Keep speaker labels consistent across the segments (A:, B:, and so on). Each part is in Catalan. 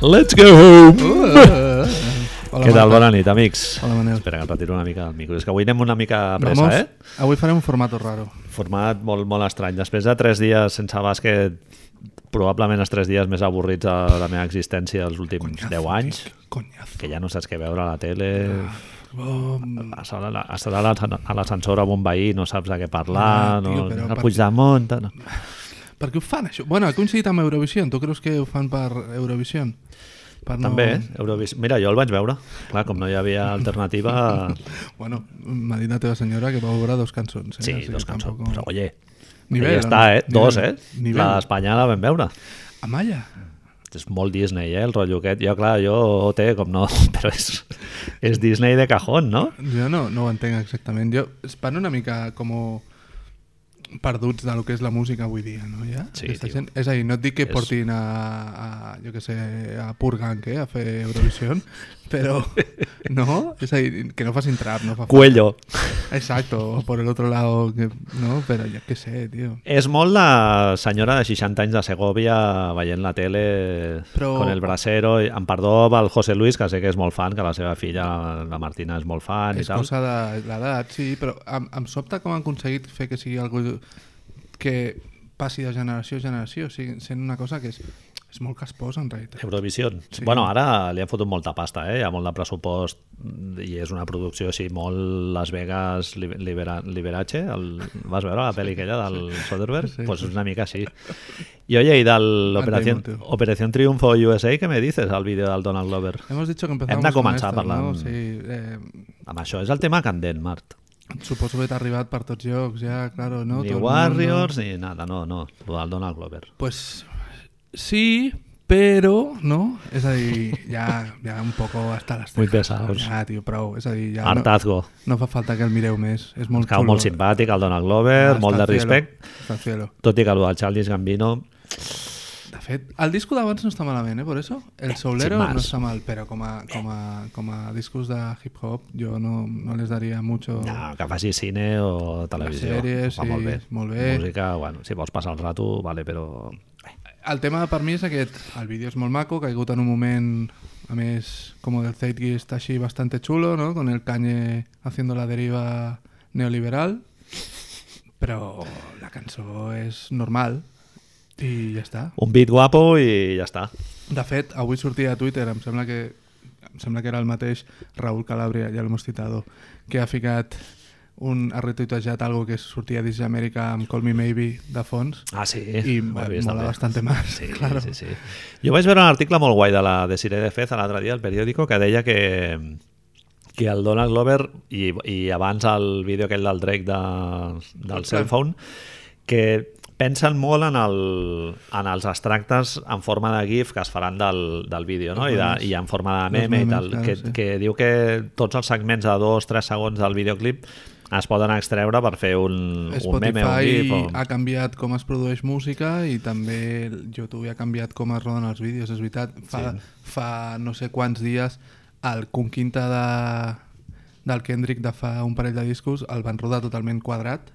A: Let's go home!
B: Uh,
A: Què tal? Bona nit, amics.
B: Hola, Manel.
A: Espera que em retiro una mica el micro. És que avui anem una mica pressa,
B: Vamos,
A: eh?
B: avui farem un formato raro.
A: Format molt, molt estrany. Després de tres dies sense bàsquet, probablement els tres dies més avorrits de la meva existència dels últims 10 anys,
B: Conyazo.
A: que ja no saps què veure a la tele,
B: Oh,
A: estar a la- estar a la- a l'ascensor amb un veí, no saps de què parlar,
B: Ah, tio,
A: no,
B: però
A: no
B: per-
A: Puigdemont... No.
B: per què ho fan, això? Bueno, ha coincidit amb Eurovisió. Tu creus que ho fan per Eurovisió? Per no-
A: També, eh? Eurovis... Mira, jo el vaig veure. Clar, com no hi havia alternativa...
B: Bueno, m'ha dit la teva senyora que vau veure dos cançons. Eh?
A: Sí,
B: Així que
A: dos cançons.
B: tampoc-
A: Però, oye,
B: Nivell,
A: ja està, eh?
B: no?
A: Dos, eh?
B: Nivell. Nivell.
A: La d'Espanya la vam veure.
B: Amaya.
A: És molt Disney, eh, el rotllo aquest. Jo, clar, jo OT, com no, però és, és Disney de cajón, no?
B: Jo no, no ho entenc exactament. Jo, es van una mica com perduts de lo que és la música avui dia, no? Ja?
A: Sí,
B: Aquesta
A: tio.
B: gent... És a dir, no et dic que
A: És-
B: portin a, a jo que sé, a Purgank, eh? A fer Eurovisió, però... No? És a dir, que no facin trap, no fa...
A: Cuello.
B: Exacto, o por el otro lado, que, no? Però jo què sé, tio.
A: És molt la senyora de 60 anys de Segovia veient la tele
B: Però-
A: con el bracero. i- Amb perdó pel José Luis, que sé que és molt fan, que la seva filla, la Martina, és molt fan i
B: És
A: tal.
B: cosa de l'edat, sí, però em, em sobta com han aconseguit fer que sigui algo que passi de generació a generació, o sigui, sent una cosa que és, és molt casposa, en realitat.
A: Eurovisió.
B: Sí.
A: Sí. Bueno, ara li han fotut molta pasta, eh? hi ha molt de pressupost i és una producció així molt Las Vegas Liber- Libera Liberace, el... vas veure la pel·li aquella del Soderbergh?
B: Sí,
A: Sí, pues és una mica així. I oye, i del Operación,
B: Anti-motiu.
A: Operación Triunfo USA, què me dices al vídeo del Donald Glover?
B: Hemos dicho que
A: Hem
B: empezamos
A: de
B: con
A: començar
B: esta,
A: parlant.
B: No? Sí, eh,
A: Amb això és el tema candent, Mart.
B: suposo que t'ha arribat per tots llocs, ja, claro, no?
A: No, ni
B: Tot el
A: Warriors ni nada, no, no, lo del Donald Glover.
B: Mundo... Pues sí, pero, ¿no? És a dir, ja, ja un poco hasta las
A: Muy
B: cejas.
A: pesados.
B: Ja, tio, prou. És a dir, ja no,
A: Hartazgo.
B: no fa falta que el mireu més. És molt
A: Ens cau molt simpàtic el Donald Glover, molt de respecte.
B: Hasta el cielo.
A: Tot i que el del Charles Gambino
B: De fet, el disco d'abans no està malament, eh, per això. El
A: sin
B: Soulero
A: más.
B: no està mal, però com a, com a, com a discos de hip-hop jo no, no les daria mucho...
A: No, que faci cine o televisió.
B: sèries,
A: Va molt
B: sí,
A: bé.
B: molt bé.
A: Música, bueno, si vols passar el rato, vale, però...
B: El tema per mi és aquest. El vídeo és molt maco, caigut en un moment, a més, com del Zeitgi està així bastante chulo, ¿no? Con el Kanye haciendo la deriva neoliberal. Però la cançó és normal i ja està.
A: Un beat guapo i ja està.
B: De fet, avui sortia a Twitter, em sembla que em sembla que era el mateix Raúl Calabria, ja l'hemos citado, que ha ficat un, ha retuitejat algo que sortia a This is America amb Call Me Maybe de fons
A: Ah, sí. ho
B: i
A: he
B: mola
A: vist, també.
B: bastante más,
A: Sí,
B: claro.
A: sí, sí. Jo vaig veure un article molt guai de la Desiree de Fez l'altre dia al periòdico que deia que que el Donald Glover i, i abans el vídeo aquell del Drake de, del cellphone que pensen molt en, el, en els extractes en forma de GIF que es faran del, del vídeo no? I, de, i en forma de
B: Los
A: meme i
B: memes,
A: tal,
B: claro,
A: que,
B: sí.
A: que diu que tots els segments de 2-3 segons del videoclip es poden extreure per fer un, un meme o un
B: Spotify
A: GIF o...
B: ha canviat com es produeix música i també el YouTube ha canviat com es roden els vídeos, és veritat. Fa, fa no sé quants dies el Conquinta de, del Kendrick de fa un parell de discos el van rodar totalment quadrat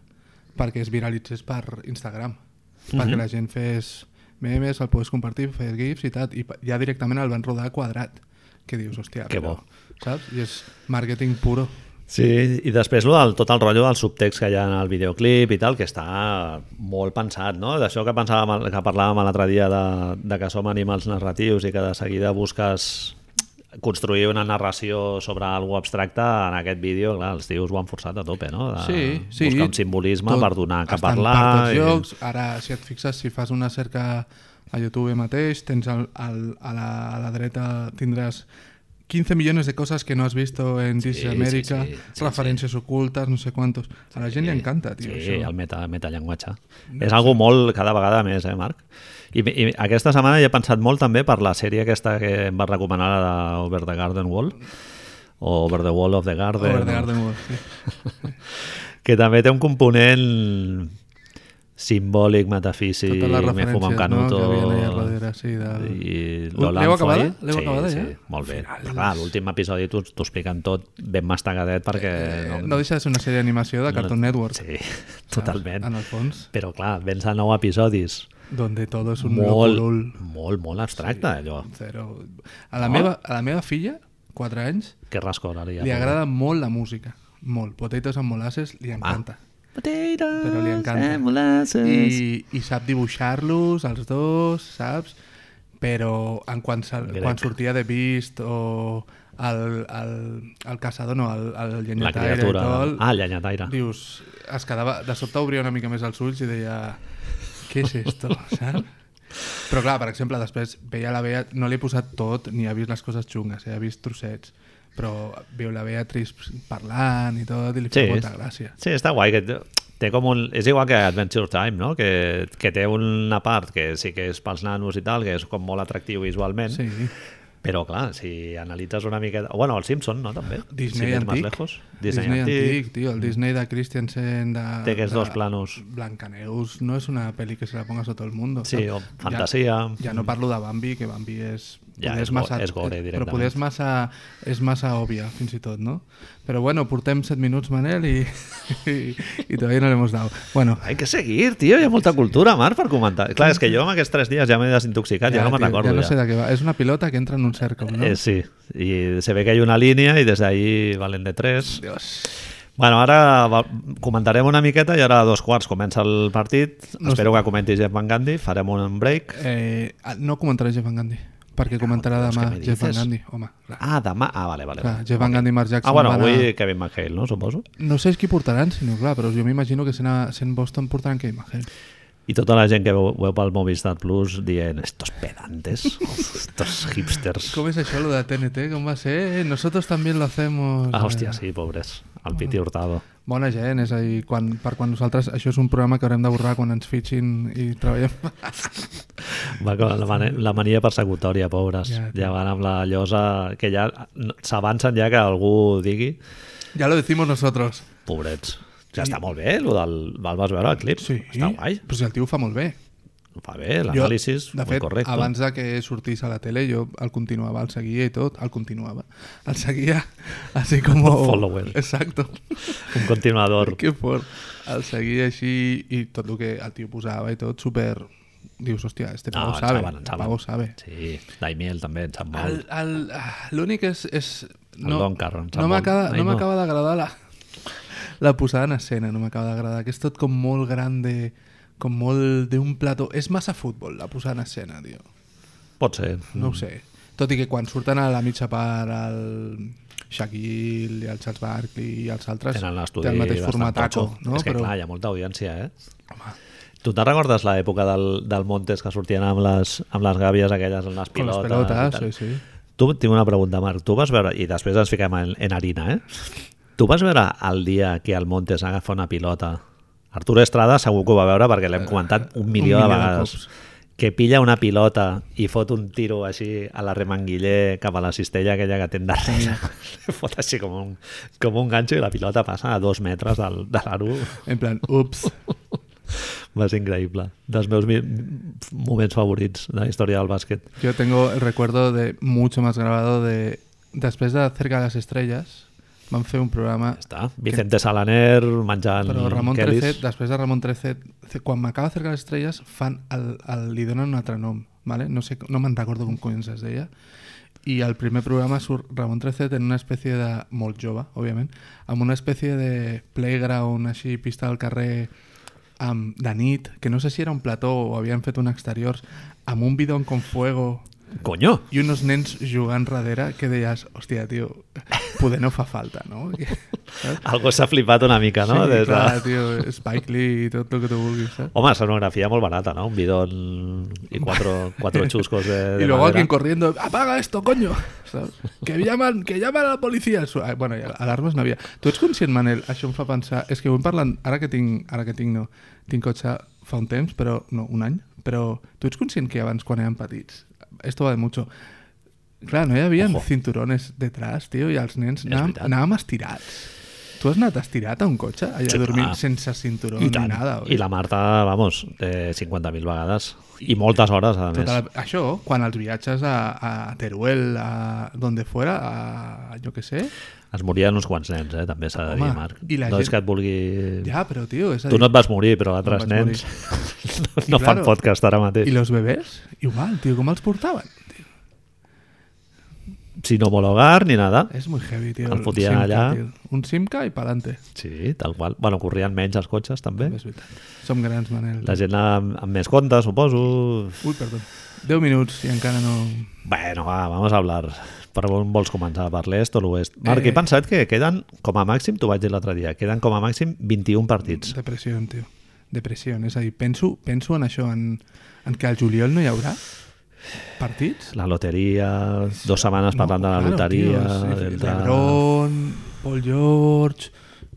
B: perquè es viralitzés per Instagram.
A: Mhm.
B: Perquè la gent fes memes, el pogués compartir, fes gifs i tal. I pa- ja directament el van rodar quadrat. Que dius, hòstia,
A: Que bo.
B: saps? I és marketing puro.
A: Sí, i després lo del, tot el rotllo del subtext que hi ha en el videoclip i tal, que està molt pensat, no? D'això que pensàvem, que parlàvem l'altre dia de, de que som animals narratius i que de seguida busques construir una narració sobre algo abstracte en aquest vídeo, clar, els tios ho han forçat a tope, no? De
B: Sí, sí.
A: Ah, Buscar un simbolisme
B: Tot-
A: per donar que
B: estan
A: parlar...
B: Per tots
A: i-
B: llocs. Ara, si et fixes, si fas una cerca a YouTube mateix, tens el, el, a, la, a la dreta tindràs 15 millones de cosas que no has visto en This
A: Sí,
B: is America,
A: sí, sí, sí,
B: referències ocultes, no sé quantos. A la gent li encanta, tio,
A: Sí,
B: això. Mm,
A: el meta, metallenguatge. No, és algo molt cada vegada més, eh, Marc? I, I aquesta setmana ja he pensat molt també per la sèrie aquesta que em vas recomanar, la de Over the Garden Wall, o Over the Wall of the Garden,
B: Over the Garden Wall, sí.
A: que també té un component simbòlic, metafísic,
B: Totes les
A: me fuma un
B: referències no,
A: canuto...
B: que havien allà darrere, sí, de...
A: I
B: L'heu
A: l'Olanzo
B: acabada?
A: ahí?
B: L'heu
A: sí,
B: acabada
A: sí,
B: ja?
A: molt bé. Però Clar, l'últim episodi t'ho t'ho expliquen tot ben mastegadet perquè...
B: Eh, no deixa de ser una sèrie d'animació de Cartoon Network,
A: Sí, totalment.
B: en el fons.
A: Però clar, vens a nou episodis
B: Donde todo és un
A: molt,
B: molt...
A: molt, molt abstracte, sí. allò.
B: Zero. A la, meva, a la meva filla, 4 anys,
A: Que rascor, ara Ah. ja.
B: li agrada molt la música. Molt. Potatoes amb molasses
A: Ah.
B: li encanta.
A: Potatoes
B: Però li encanta.
A: and molasses.
B: I, i sap dibuixar-los, els dos, saps? Però en quan, se,
A: Grec.
B: quan sortia de Beast o el, el, el caçador, no, el, el
A: La
B: llenyataire i
A: criatura.
B: tot,
A: Ah, llenyataire.
B: dius, es quedava, de sobte obria una mica més els ulls i deia què és esto, saps? Però clar, per exemple, després veia la Bea, no li he posat tot, ni ha vist les coses xungues, eh? ha vist trossets, però veu la Bea trist parlant i tot, i li fa
A: Sí,
B: molta gràcia.
A: sí, està guai. Que té- té com un, és igual que Adventure Time, no? que, que té una part que sí que és pels nanos i tal, que és com molt atractiu visualment,
B: Sí.
A: però clar, si analitzes una miqueta... Bueno, el Simpson, no? També.
B: Disney
A: si anem Més
B: antic.
A: lejos.
B: Disney, Disney antic, tio, el Disney de Christensen de,
A: Té aquests
B: de
A: dos planos.
B: Blancaneus no és una pel·li que se la pongas a tot el mundo
A: Sí,
B: saps?
A: o fantasia.
B: ja, ja no parlo de Bambi, que Bambi pues, és
A: Ja,
B: poder
A: és go- és gore
B: però
A: directament.
B: poder és massa, és massa òbvia fins i tot, no? però bueno, portem 7 minuts Manel i, i, i todavía no l'hemos dado bueno,
A: Hay que seguir, tio, hi ha molta cultura, Marc, per comentar. Clar, és que jo en aquests tres dies ja m'he desintoxicat, ja, ja no me'n
B: tio,
A: recordo.
B: ja no sé de què va, és una pilota que entra en un cercle no?
A: Eh, sí, y se ve que hay una línea y desde ahí valen de tres.
B: Dios.
A: Bueno, ara va- comentarem una miqueta i ara a dos quarts comença el partit.
B: No
A: Espero que comenti Jeff Van Gandhi, farem un break.
B: eh, no comentarà Jeff Van Gandhi perquè comentarà
A: Dios,
B: demà
A: què me
B: Jeff Van
A: dices?
B: Gandhi home, clar.
A: Ah, demà... Ah, vale, vale.
B: Clar,
A: vale.
B: Jeff Van Gundy i Mark Jackson
A: Ah, bueno,
B: van
A: avui
B: a...
A: Kevin McHale, no? Suposo.
B: No sé qui portaran, sinó clar, però jo m'imagino que sent, a, sent Boston portaran Kevin Mahel.
A: I tota la gent que veu, veu pel Movistar Plus dient estos pedantes, estos hipsters.
B: Com és això, lo de TNT? Com va ser? Eh, Nosotros también lo hacemos. eh,
A: Ah, hòstia, sí, pobres. El Piti Hurtado.
B: Bona gent, és a dir, quan, per quan nosaltres... Això és un programa que haurem de borrar quan ens fitxin i treballem.
A: Va com la, mani la mania persecutòria, pobres. Ja,
B: Ja, tio.
A: ja van amb la llosa que ja no- s'avancen ja que algú digui.
B: ja lo decimos nosotros.
A: Pobrets. Ja està molt bé, lo del, el vas veure el clip?
B: Sí.
A: Està guai.
B: Però si el tio ho fa molt bé.
A: Ho fa bé,
B: Jo,
A: l'anàlisi és
B: de
A: molt
B: fet,
A: correcte.
B: abans de que sortís a la tele, jo el continuava, el seguia i tot, el continuava. El seguia, així com...
A: Follower.
B: Exacto.
A: Un continuador.
B: Que fort. El seguia així i tot el que el tio posava i tot, super... Dius, hòstia, este
A: No,
B: pavo
A: en
B: sabe.
A: saben, en
B: Este
A: saben.
B: pavo sabe.
A: Sí, Daimiel també en sap
B: El-
A: molt.
B: el- ah, L'únic és... és no,
A: Don Carron,
B: no
A: Ramon.
B: m'acaba
A: Ai,
B: no
A: no.
B: m'acaba d'agradar la, la posada en escena, no m'acaba d'agradar, que és tot com molt gran de com molt d'un plató. És massa futbol, la posada en escena, tio.
A: Pot ser.
B: No ho sé. Tot i que quan surten a la mitja part el Shaquille i el Charles Barkley i els altres,
A: Tenen l'estudi
B: té el mateix
A: bastant
B: formataco.
A: totxo.
B: No?
A: És que
B: Però-
A: clar, hi ha molta audiència, eh?
B: Home,
A: Tu te'n recordes l'època del, del Montes que sortien amb les, amb les gàbies aquelles, amb les
B: Con
A: pilotes?
B: las
A: i tal?
B: pelotas, sí, sí.
A: Tu, tinc una pregunta, Marc. Tu vas veure, i després ens fiquem en, en harina, eh? Tu vas veure el dia que el Montes agafa una pilota? Artur Estrada segur que ho va veure perquè l'hem comentat un milió,
B: Eh, milió
A: de
B: de
A: vegades.
B: cops.
A: que pilla una pilota i fot un tiro així a la remanguiller cap a la cistella aquella que té darrere. fot així com un, com un ganxo i la pilota passa a dos metres del, de l'aro.
B: En plan, ups.
A: Va ser increïble. Dels meus mi- moments favorits de la història del bàsquet.
B: Yo tengo el recuerdo de mucho más grabado de. Después de Cerca de las Estrellas, van fer un programa.
A: Ja està. Vicente Salaner menjant
B: Però Ramon
A: quelis.
B: Trecet, després de Ramon Trecet, ce- quan m'acaba Cerca de les Estrelles, fan el, el, li donen un altre nom, ¿vale? no, sé, no me'n recordo com collons es deia, i al primer programa surt Ramon Trecet en una espècie de... molt jove, òbviament, amb una espècie de playground, així, pista al carrer amb, de nit, que no sé si era un plató o havien fet un exteriors, amb un bidon con fuego
A: Conyo!
B: i uns nens jugant darrere que deies, hòstia, tio, poder no fa falta, no? Saps?
A: Algo s'ha flipat una mica, no?
B: Sí,
A: Des de-
B: clar, tio, Spike Lee i tot el que tu vulguis, saps?
A: Home, sonografía molt barata, ¿no? Un bidón y cuatro, cuatro chuscos de, de
B: y luego
A: madera.
B: alguien corriendo, apaga esto, coño, ¿sabes? Que llaman, que llaman a la policia. Su- ah, Bueno, i alarmes no havia. Tu ets conscient, Manel, això em fa pensar... És que ho hem parlat, ara que tinc, ara que tinc, no, tinc cotxe fa un temps, però no, un any, però tu ets conscient que abans quan érem petits, esto va de mucho, clar, no hi havia
A: Ojo.
B: cinturones detrás, tio, i els nens anàvem,
A: veritat.
B: anàvem estirats. Tu has anat estirat a un cotxe, allà
A: Sí,
B: dormint
A: clar.
B: sense cinturó
A: I
B: ni
A: tant.
B: nada. oi?
A: I la Marta, vamos, de 50.000 vegades. I moltes hores, a més.
B: Tota la, això, quan els viatges a, a Teruel, a donde fuera, a, jo que sé...
A: Es morien uns quants nens, eh? També s'ha de dir,
B: Home,
A: Marc.
B: i la
A: no és
B: gent-
A: que et vulgui...
B: Ja, però, tio, és a
A: Tu
B: dir...
A: no et vas morir, però altres
B: vaig
A: nens...
B: morir.
A: no, no fan
B: claro,
A: podcast ara mateix.
B: I los bebès? Igual, tio, com els portaven? Tio?
A: Sin homologar ni nada.
B: És molt heavy, tio.
A: El fotien
B: Simca,
A: allà.
B: tio. Un Simca i pa'lante.
A: Sí, tal qual. Bueno, corrien menys els cotxes, també.
B: És veritat. Som grans, Manel.
A: La gent amb, amb més comptes, suposo.
B: Ui, perdó. 10 minuts i encara no...
A: Bueno, va, vamos a hablar. Per on vols començar? Per l'est o l'oest? Marc,
B: Eh.
A: he pensat que queden, com a màxim, t'ho vaig dir l'altre dia, queden com a màxim 21 partits.
B: Depressió, tio. Depressió. És a dir, penso, penso en això, en, en que al juliol no hi haurà partits.
A: La loteria, dues setmanes parlant de la
B: claro,
A: loteria...
B: tio, és-
A: del
B: és
A: tal.
B: Lebron, Paul George,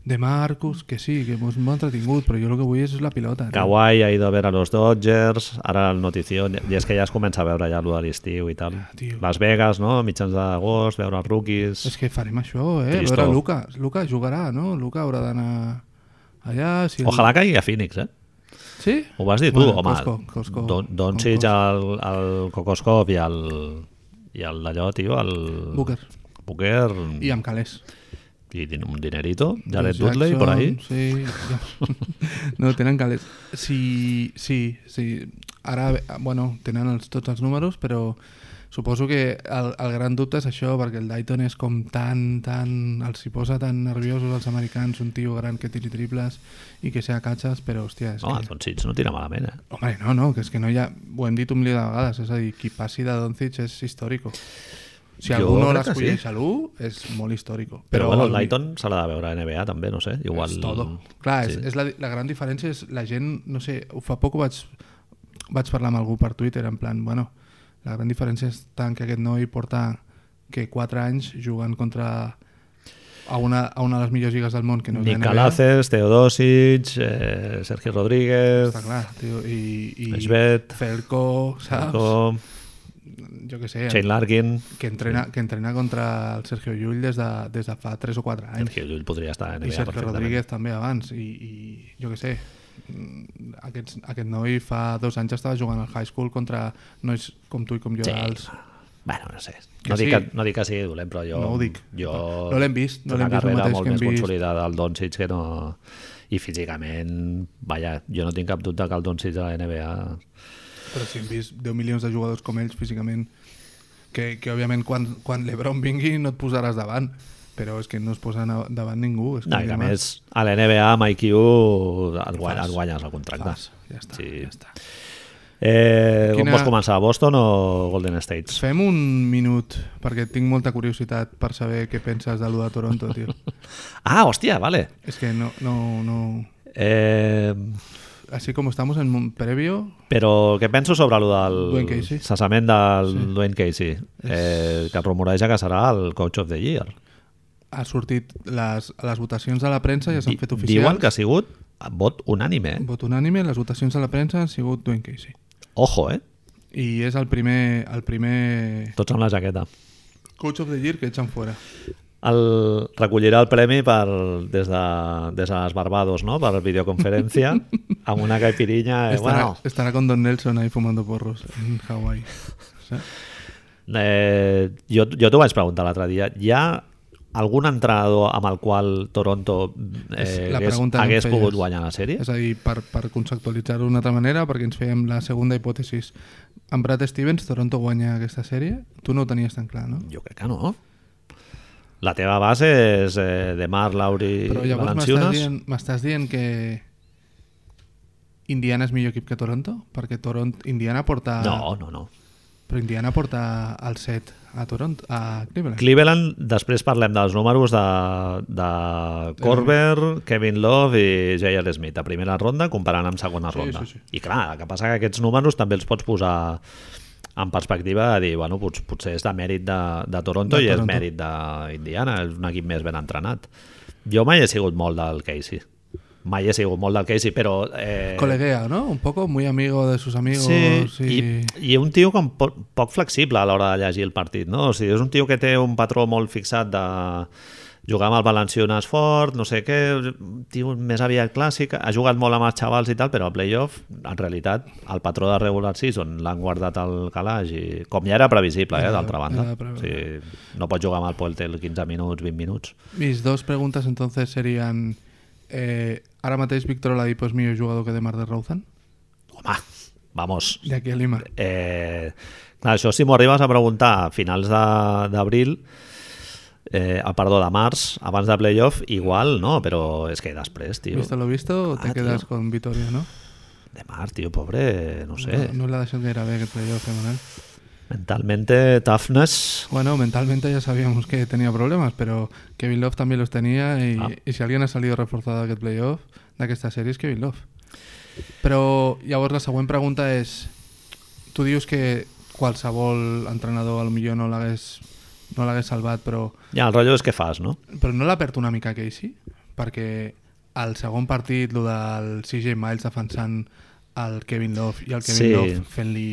B: De Marcus, que sí, que m'ho ha entretingut, però jo el que vull és la pilota. tio.
A: Kawhi ha ido a veure los Dodgers, ara el notició, i és que ja es comença a veure ja allò de l'estiu i tal.
B: tio.
A: Las Vegas, no? Mitjans d'agost, veure els rookies...
B: És que farem això, eh?
A: Tristó.
B: A veure, Luca, Luca jugarà, no? Luca haurà d'anar allà... Si el...
A: Ojalà caigui a Phoenix, eh?
B: Sí?
A: Ho vas dir tu,
B: Bueno,
A: bueno, home.
B: Cosco, Cosco,
A: Don, Doncic, el, el Kokoskov i el, i el d'allò, tio, el...
B: Booker.
A: Booker
B: I
A: i,
B: amb calés.
A: i din- un dinerito, Jared
B: Jackson,
A: Dudley, por ahí.
B: Sí. ja. No, tenen calés. Sí, sí, sí. Ara, bueno, tenen els, tots els números, però suposo que el, el gran dubte és això, perquè el Dayton és com tan, tan... Els hi posa tan nerviosos els americans, un tio gran que tiri triples i que sea catxes, però, hòstia, és
A: Home,
B: que...
A: Doncic no tira malament, eh?
B: Home, no, no, que és que no hi ha... Ho hem dit un milió de vegades, és a dir, qui passi de Doncic és històrico. Si
A: Jo
B: algú no
A: crec que
B: l'escolleix
A: sí.
B: a l'1, és molt històrico.
A: Però, Però bueno, el
B: al-
A: Lighton se l'ha de veure a NBA, també, no sé. Igual...
B: És todo. Clar, sí.
A: sí.
B: és, és la, la gran diferència és la gent, no sé, fa poc ho vaig, vaig parlar amb algú per Twitter en plan, bueno, la gran diferència és tant que aquest noi porta que 4 anys jugant contra a una, a una de les millors lligues del món que no és la NBA.
A: Nicalaces, Teodosic, eh, Sergi Rodríguez,
B: Està clar, tio, i, i
A: Esbet,
B: Felco, saps?
A: Falcó,
B: Jo què sé,
A: Shane Larkin...
B: que entrena, que entrena contra el Sergio Llull des de, des de fa 3 o 4 anys.
A: Sergi Llull podria estar a
B: I
A: NBA
B: Sergio
A: perfectament.
B: Rodríguez també abans i, i jo que sé mm, aquest, aquest noi fa dos anys estava jugant al high school contra nois com tu i com jo
A: Sí.
B: als...
A: Bueno, no sé.
B: Que
A: No, dic
B: sí.
A: que, no dic que sigui dolent, però jo...
B: No ho dic.
A: Jo,
B: No l'hem vist, no
A: té una
B: l'hem vist el
A: carrera
B: mateix
A: molt
B: que hem
A: més
B: vist.
A: consolidada al Doncic que no... I físicament, vaja, jo no tinc cap dubte que el Doncic a la NBA...
B: però si hem vist 10 milions de jugadors com ells físicament que, que òbviament quan, quan l'Ebron vingui no et posaràs davant però és que no es posa na- davant ningú és
A: No, i
B: que
A: que a
B: demà-
A: més, a la NBA amb IQ et, guany,
B: Fas.
A: et guanyes el contracte.
B: Fas, ja està, ja està.
A: Eh, Quina... On
B: Quina-
A: vols començar, Boston o Golden State?
B: Fem un minut, perquè tinc molta curiositat per saber què penses de lo de Toronto, tio.
A: Ah, hòstia, vale.
B: És que no, no, no...
A: Eh,
B: Así como estamos en un previo,
A: però què penso sobre allò del
B: Dwayne Casey.
A: cessament del Dwayne Casey? Eh, que es rumoreja que serà el Coach of the Year.
B: ha sortit les, les votacions de la premsa ja s'han
A: Di-
B: fet
A: Diuen
B: oficials.
A: que ha sigut vot unànime, eh?
B: Vot unànime, les votacions de la premsa han sigut Dwayne Casey.
A: Ojo, eh?
B: I és el primer, el primer
A: Tots amb la jaqueta.
B: coach of the year que echan fora.
A: El, recollirà el premi per, des, de, des de les Barbados, no? Per videoconferència, amb una caipirinha... Eh,
B: estará,
A: bueno,
B: estará con Don Nelson ahí fumando porros en Hawái. O sea,
A: eh, jo jo t'ho vaig preguntar l'altre dia. Hi ha algun entrenador amb el qual Toronto eh,
B: És la
A: hagués,
B: pregunta que em
A: hagués
B: feies.
A: pogut guanyar la sèrie?
B: És a dir, per, per conceptualitzar-ho d'una altra manera, perquè ens fèiem la segunda hipòtesis. En Brad Stevens, Toronto guanya aquesta sèrie. Tu no ho tenies tan clar, no?
A: Jo crec que no. La teva base és eh, de Mar, Lauri,
B: Però llavors m'estàs
A: Valanciunas.
B: dient, m'estàs dient que Indiana és millor equip que Toronto? Perquè Toronto, Indiana porta...
A: No, no, no.
B: Però Indiana porta el set a Toronto, a Cleveland.
A: Cleveland, després parlem dels números de, de Corber, Kevin Love i J.R. Smith a primera ronda comparant amb segona
B: Sí,
A: ronda.
B: sí, sí.
A: I clar, el que passa que aquests números també els pots posar en perspectiva de dir, bueno, pot, potser és de mèrit de, de Toronto
B: De
A: i és
B: Toronto.
A: mèrit d'Indiana, és un equip més ben entrenat. Jo mai he sigut molt del Casey. Mai he sigut molt del Casey, però... Eh,
B: Coleguea, ¿no? Un poco muy amigo de sus amigos.
A: Sí,
B: y...
A: i, i un tio com po poc flexible a l'hora de llegir el partit, no? O sigui, és un tio que té un patró molt fixat de jugar amb el Valenciunas fort, no sé què, un tio més aviat clàssic, ha jugat molt amb els xavals i tal, però al playoff, en realitat, el patró de regular season l'han guardat al calaix i com ja era previsible, eh,
B: Era-
A: d'altra banda.
B: era
A: O
B: previsible.
A: sigui, no pots jugar amb el Poeltel 15 minuts, 20 minuts.
B: Mis dos preguntas entonces serían... Eh, ¿Ahora matéis Víctor Oladipo es mío jugador que de Mar de Rouzan?
A: home, vamos.
B: D'aquí a Lima.
A: Eh, clar, això si m'ho arribes a preguntar a finals de- d'abril, eh, a perdó, de març, abans de playoff, igual, no? Però és que després, tio,
B: Visto lo visto, te
A: Ah,
B: quedas
A: tio.
B: con Vitoria, ¿no?
A: de març, tio, pobre, no sé.
B: No, no la deixes gairebé aquest playoff, eh, Manel?
A: Mentalmente, toughness...
B: Bueno, mentalmente ya sabíamos que tenía problemas, pero Kevin Love también los tenía y,
A: Ah.
B: y si alguien ha salido reforzado d'aquest playoff, d'aquesta sèrie és Kevin Love. Però llavors la següent pregunta és tu dius que qualsevol entrenador a lo millor no l'hagués no l'hagués salvat, però,
A: Ja, el rotllo és què fas, no?
B: però no la perd una mica Casey? Perquè al segon partit, lo del CJ Miles defensant el Kevin Love i el Kevin
A: Sí.
B: Love fent-li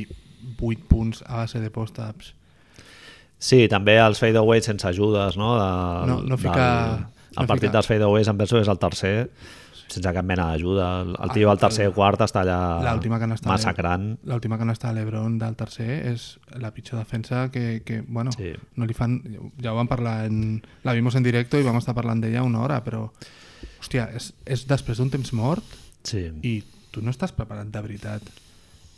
B: 8 punts a base de post-ups.
A: Sí, també els fadeaways sense ajudes, no? De,
B: No- no fica-
A: Del, el
B: no
A: partit
B: fica.
A: dels fadeaways, em penso, és el tercer, sense cap mena d'ajuda. El, el tio al tercer o quart està allà
B: Ah, L'última canasta de-
A: massacrant.
B: L'última canasta de l'Ebron del tercer és la pitjor defensa que, que bueno,
A: Sí.
B: sí. no li fan... Ja ho vam parlar, en, la vimos en directo i vam estar parlant d'ella una hora, però, hòstia, és, és després d'un temps mort
A: Sí.
B: i tu no estàs preparat de veritat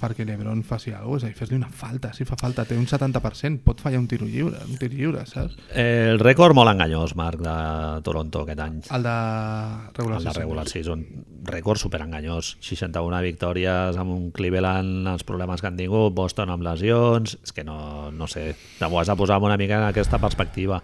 B: perquè l'Ebron faci alguna cosa, és a dir, fes-li una falta, si fa falta, té un 70%, pot fallar un tiro lliure, un tir lliure, saps?
A: Eh, El rècord molt enganyós, Marc, de Toronto aquest any.
B: El de regular
A: El de
B: season.
A: regular season. Rècord superenganyós. 61 victòries amb un Cleveland, els problemes que han tingut, Boston amb lesions... És que no, no sé, t'ho has de posar una mica en aquesta perspectiva.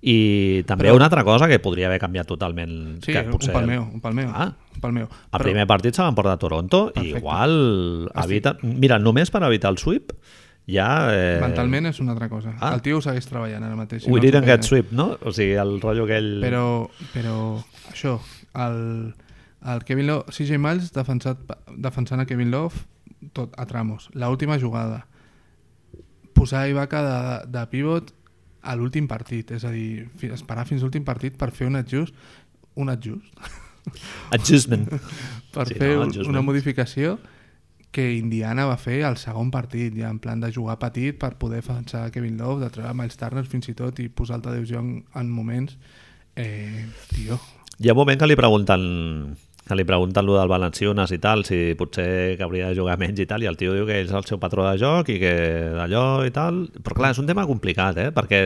A: I també
B: Però-
A: Però... una altra cosa que podria haver canviat totalment...
B: Sí,
A: que
B: un palmeo, un palmeo.
A: Ah.
B: un palmeo.
A: El primer partit se l'emporta a Toronto i
B: Perfecte.
A: igual evita... Mira, només per evitar el sweep ja... Eh...
B: Mentalment és una altra cosa.
A: Ah.
B: El tio ho segueix treballant ara mateix.
A: We
B: no ens ho
A: didn't get
B: creiem.
A: sweep, no? O sigui, el rotllo aquell...
B: Però, però això, el, el Kevin Love, CJ Miles defensat, defensant a Kevin Love tot a tramos. L'última jugada. Posar a Ibaka de, de pivot a l'últim partit, és a dir, fi- esperar fins l'últim partit per fer un adjust, un adjust,
A: Adjustment.
B: per
A: Sí,
B: sí,
A: no,
B: fer no,
A: adjustment.
B: una modificació que Indiana va fer al segon partit, ja en plan de jugar petit per poder defensar Kevin Love, de treure Miles Turner fins i tot i posar el Tadeu Jong en moments eh, tio,
A: Hi ha un moment que li pregunten que li pregunten lo del Valenciunas i tal, si potser que hauria de jugar menys i tal, i el tio diu que és el seu patró de joc i que d'allò i tal... Però clar, és un tema complicat, eh? Perquè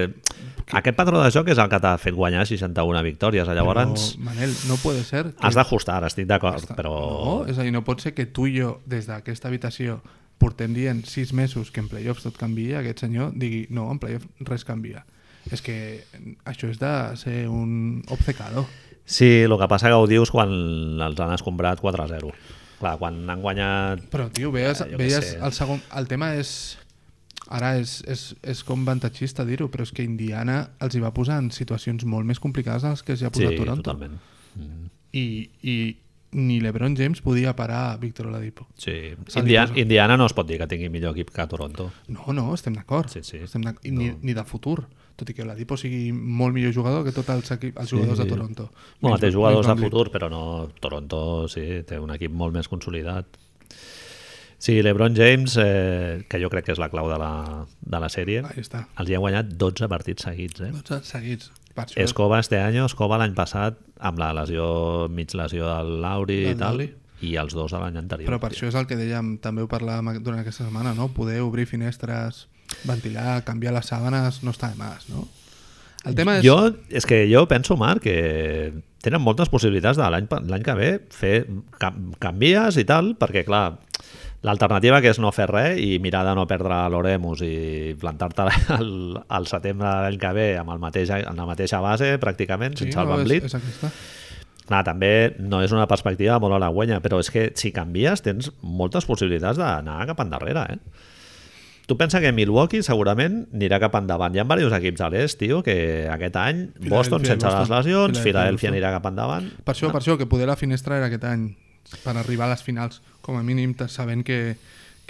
A: aquest patró de joc és el que t'ha fet guanyar 61 victòries. Llavors,
B: Però, Manel, no puede ser que...
A: has d'ajustar, estic d'acord, però...
B: No, és a dir, no pot ser que tu i jo, des d'aquesta habitació, portem dient sis mesos que en playoffs tot canvia, aquest senyor digui, no, en playoffs res canvia. És que això és de ser un obcecador.
A: Sí, el que passa que ho dius quan els han escombrat 4-0. Clar, quan han guanyat...
B: Però, tio, veies,
A: Ah, jo què
B: veies
A: sé.
B: el segon... El tema és... Ara és, és, és com avantatgista dir-ho, però és que Indiana els hi va posar en situacions molt més complicades de les que els hi ha
A: Sí,
B: posat Toronto.
A: totalment.
B: I, I ni LeBron James podia parar Víctor Oladipo.
A: Sí.
B: Se li
A: Indiana,
B: posa.
A: Indiana no es pot dir que tingui millor equip que Toronto.
B: No, no, estem d'acord.
A: Sí, sí.
B: Estem d'ac- i ni,
A: No.
B: ni de futur, tot i que Oladipo sigui molt millor jugador que tots els, equip, els jugadors de Toronto.
A: Bueno,
B: Menys-
A: té jugadors de
B: menys Van
A: futur, però no... Toronto, sí, té un equip molt més consolidat. Sí, LeBron James, eh, que jo crec que és la clau de la, de la sèrie,
B: Vliet. Ahí està.
A: els hi han guanyat 12 partits seguits, eh?
B: Doncs seguits. Per això,
A: Escova este any, Escova l'any passat, amb la lesió, mig lesió del Lauri i
B: Del
A: tal,
B: Lauri.
A: i els dos de l'any anterior.
B: però per això és el que dèiem, també ho parlàvem durant aquesta setmana, no? Poder obrir finestres, ventilar, canviar les sàbanes, no està de més, no? El tema és...
A: Jo, és que jo penso, Marc, que tenen moltes possibilitats de l'any l'any que ve fer cam canvies i tal, perquè clar, l'alternativa que és no fer res i mirar de no perdre l'Oremus i plantar-te al, al setembre de l'any que ve amb, el mateix, amb la mateixa base pràcticament, sí, sense el Van
B: és,
A: Vliet.
B: és aquesta.
A: Clar, també no és una perspectiva molt halagüenya, però és que si canvies tens moltes possibilitats d'anar cap endarrere, eh? Tu pensa que Milwaukee segurament anirà cap endavant. Hi ha diversos equips a l'est, tio, que aquest any Boston
B: i
A: sense les
B: Boston.
A: lesions,
B: Filadèlfia i
A: Filadelfia
B: Boston.
A: anirà cap endavant.
B: Per això, per això, que poder la finestra era aquest any, per arribar a les finals, com a mínim, te- sabent que,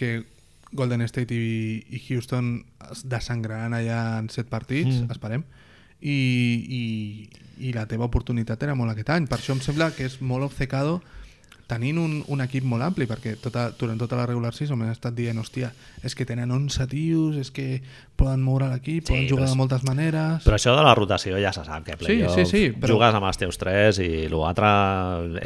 B: que Golden State i, i Houston es desengraran allà en set partits, mm. esperem, I, i, i la teva oportunitat era molt aquest any. Per això em sembla que és molt obcecado tenint un, un equip molt ampli, perquè tota, durant tota la regular season m'han estat dient, hòstia, és que tenen 11 tios, és que poden moure l'equip,
A: Sí,
B: poden
A: però
B: jugar
A: és-
B: de moltes maneres...
A: Però això de la rotació ja se sap que
B: Sí,
A: playoff
B: sí, sí, però-
A: jugues amb els teus tres i l'altre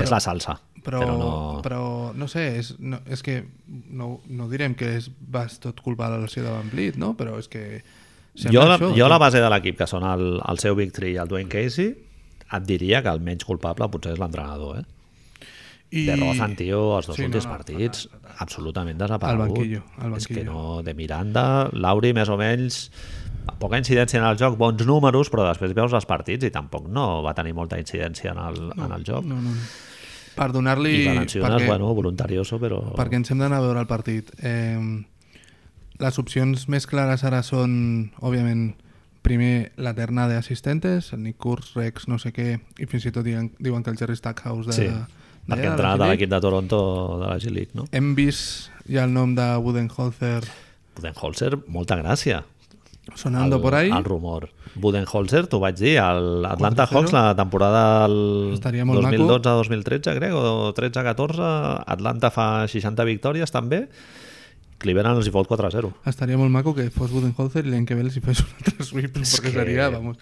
A: és la salsa.
B: Però,
A: Però
B: però,
A: no-
B: no... però no sé, és, no, és que no, no direm que és, va ser tot culpa de la lesió de Van Vliet, no? Però és que...
A: Jo la,
B: això,
A: jo
B: no?
A: la base de l'equip, que són el, el seu Big Three i el Dwayne Casey, et diria que el menys culpable potser és l'entrenador, eh? I... De Rozan, tio, els dos sí, últims no, no, partits, absolutament desaparegut.
B: Al banquillo, al
A: És que
B: banquillo.
A: no, de Miranda, Lauri, més o menys, poca incidència en el joc, bons números, però després veus els partits i tampoc no va tenir molta incidència en el, no, en el joc. No,
B: No, no. Per
A: I, I
B: donar-li...
A: Valenciunas,
B: perquè-
A: bueno, voluntarioso, però...
B: perquè ens hem d'anar a veure el partit. Eh, les opcions més clares ara són, òbviament, primer la terna d'assistentes, el Nick Kurz, Rex, no sé què, i fins i tot diuen, diuen que el Jerry Stackhouse de,
A: Sí,
B: de,
A: perquè entrenat a l'equip de Toronto de la G-League, no?
B: Hem vist ja el nom de Budenholzer
A: Budenholzer, molta gràcia.
B: sonando
A: el,
B: por ahí.
A: El rumor. Budenholzer, t'ho vaig dir, el Atlanta Hawks la temporada del
B: Estaria molt
A: 2012-2013, crec, o 13-14, Atlanta fa 60 victòries també, Cleveland els hi fot 4-0.
B: Estaria molt maco que fos Budenholzer i l'any que ve els hi fes un altre sweep, perquè
A: que-
B: seria, vamos.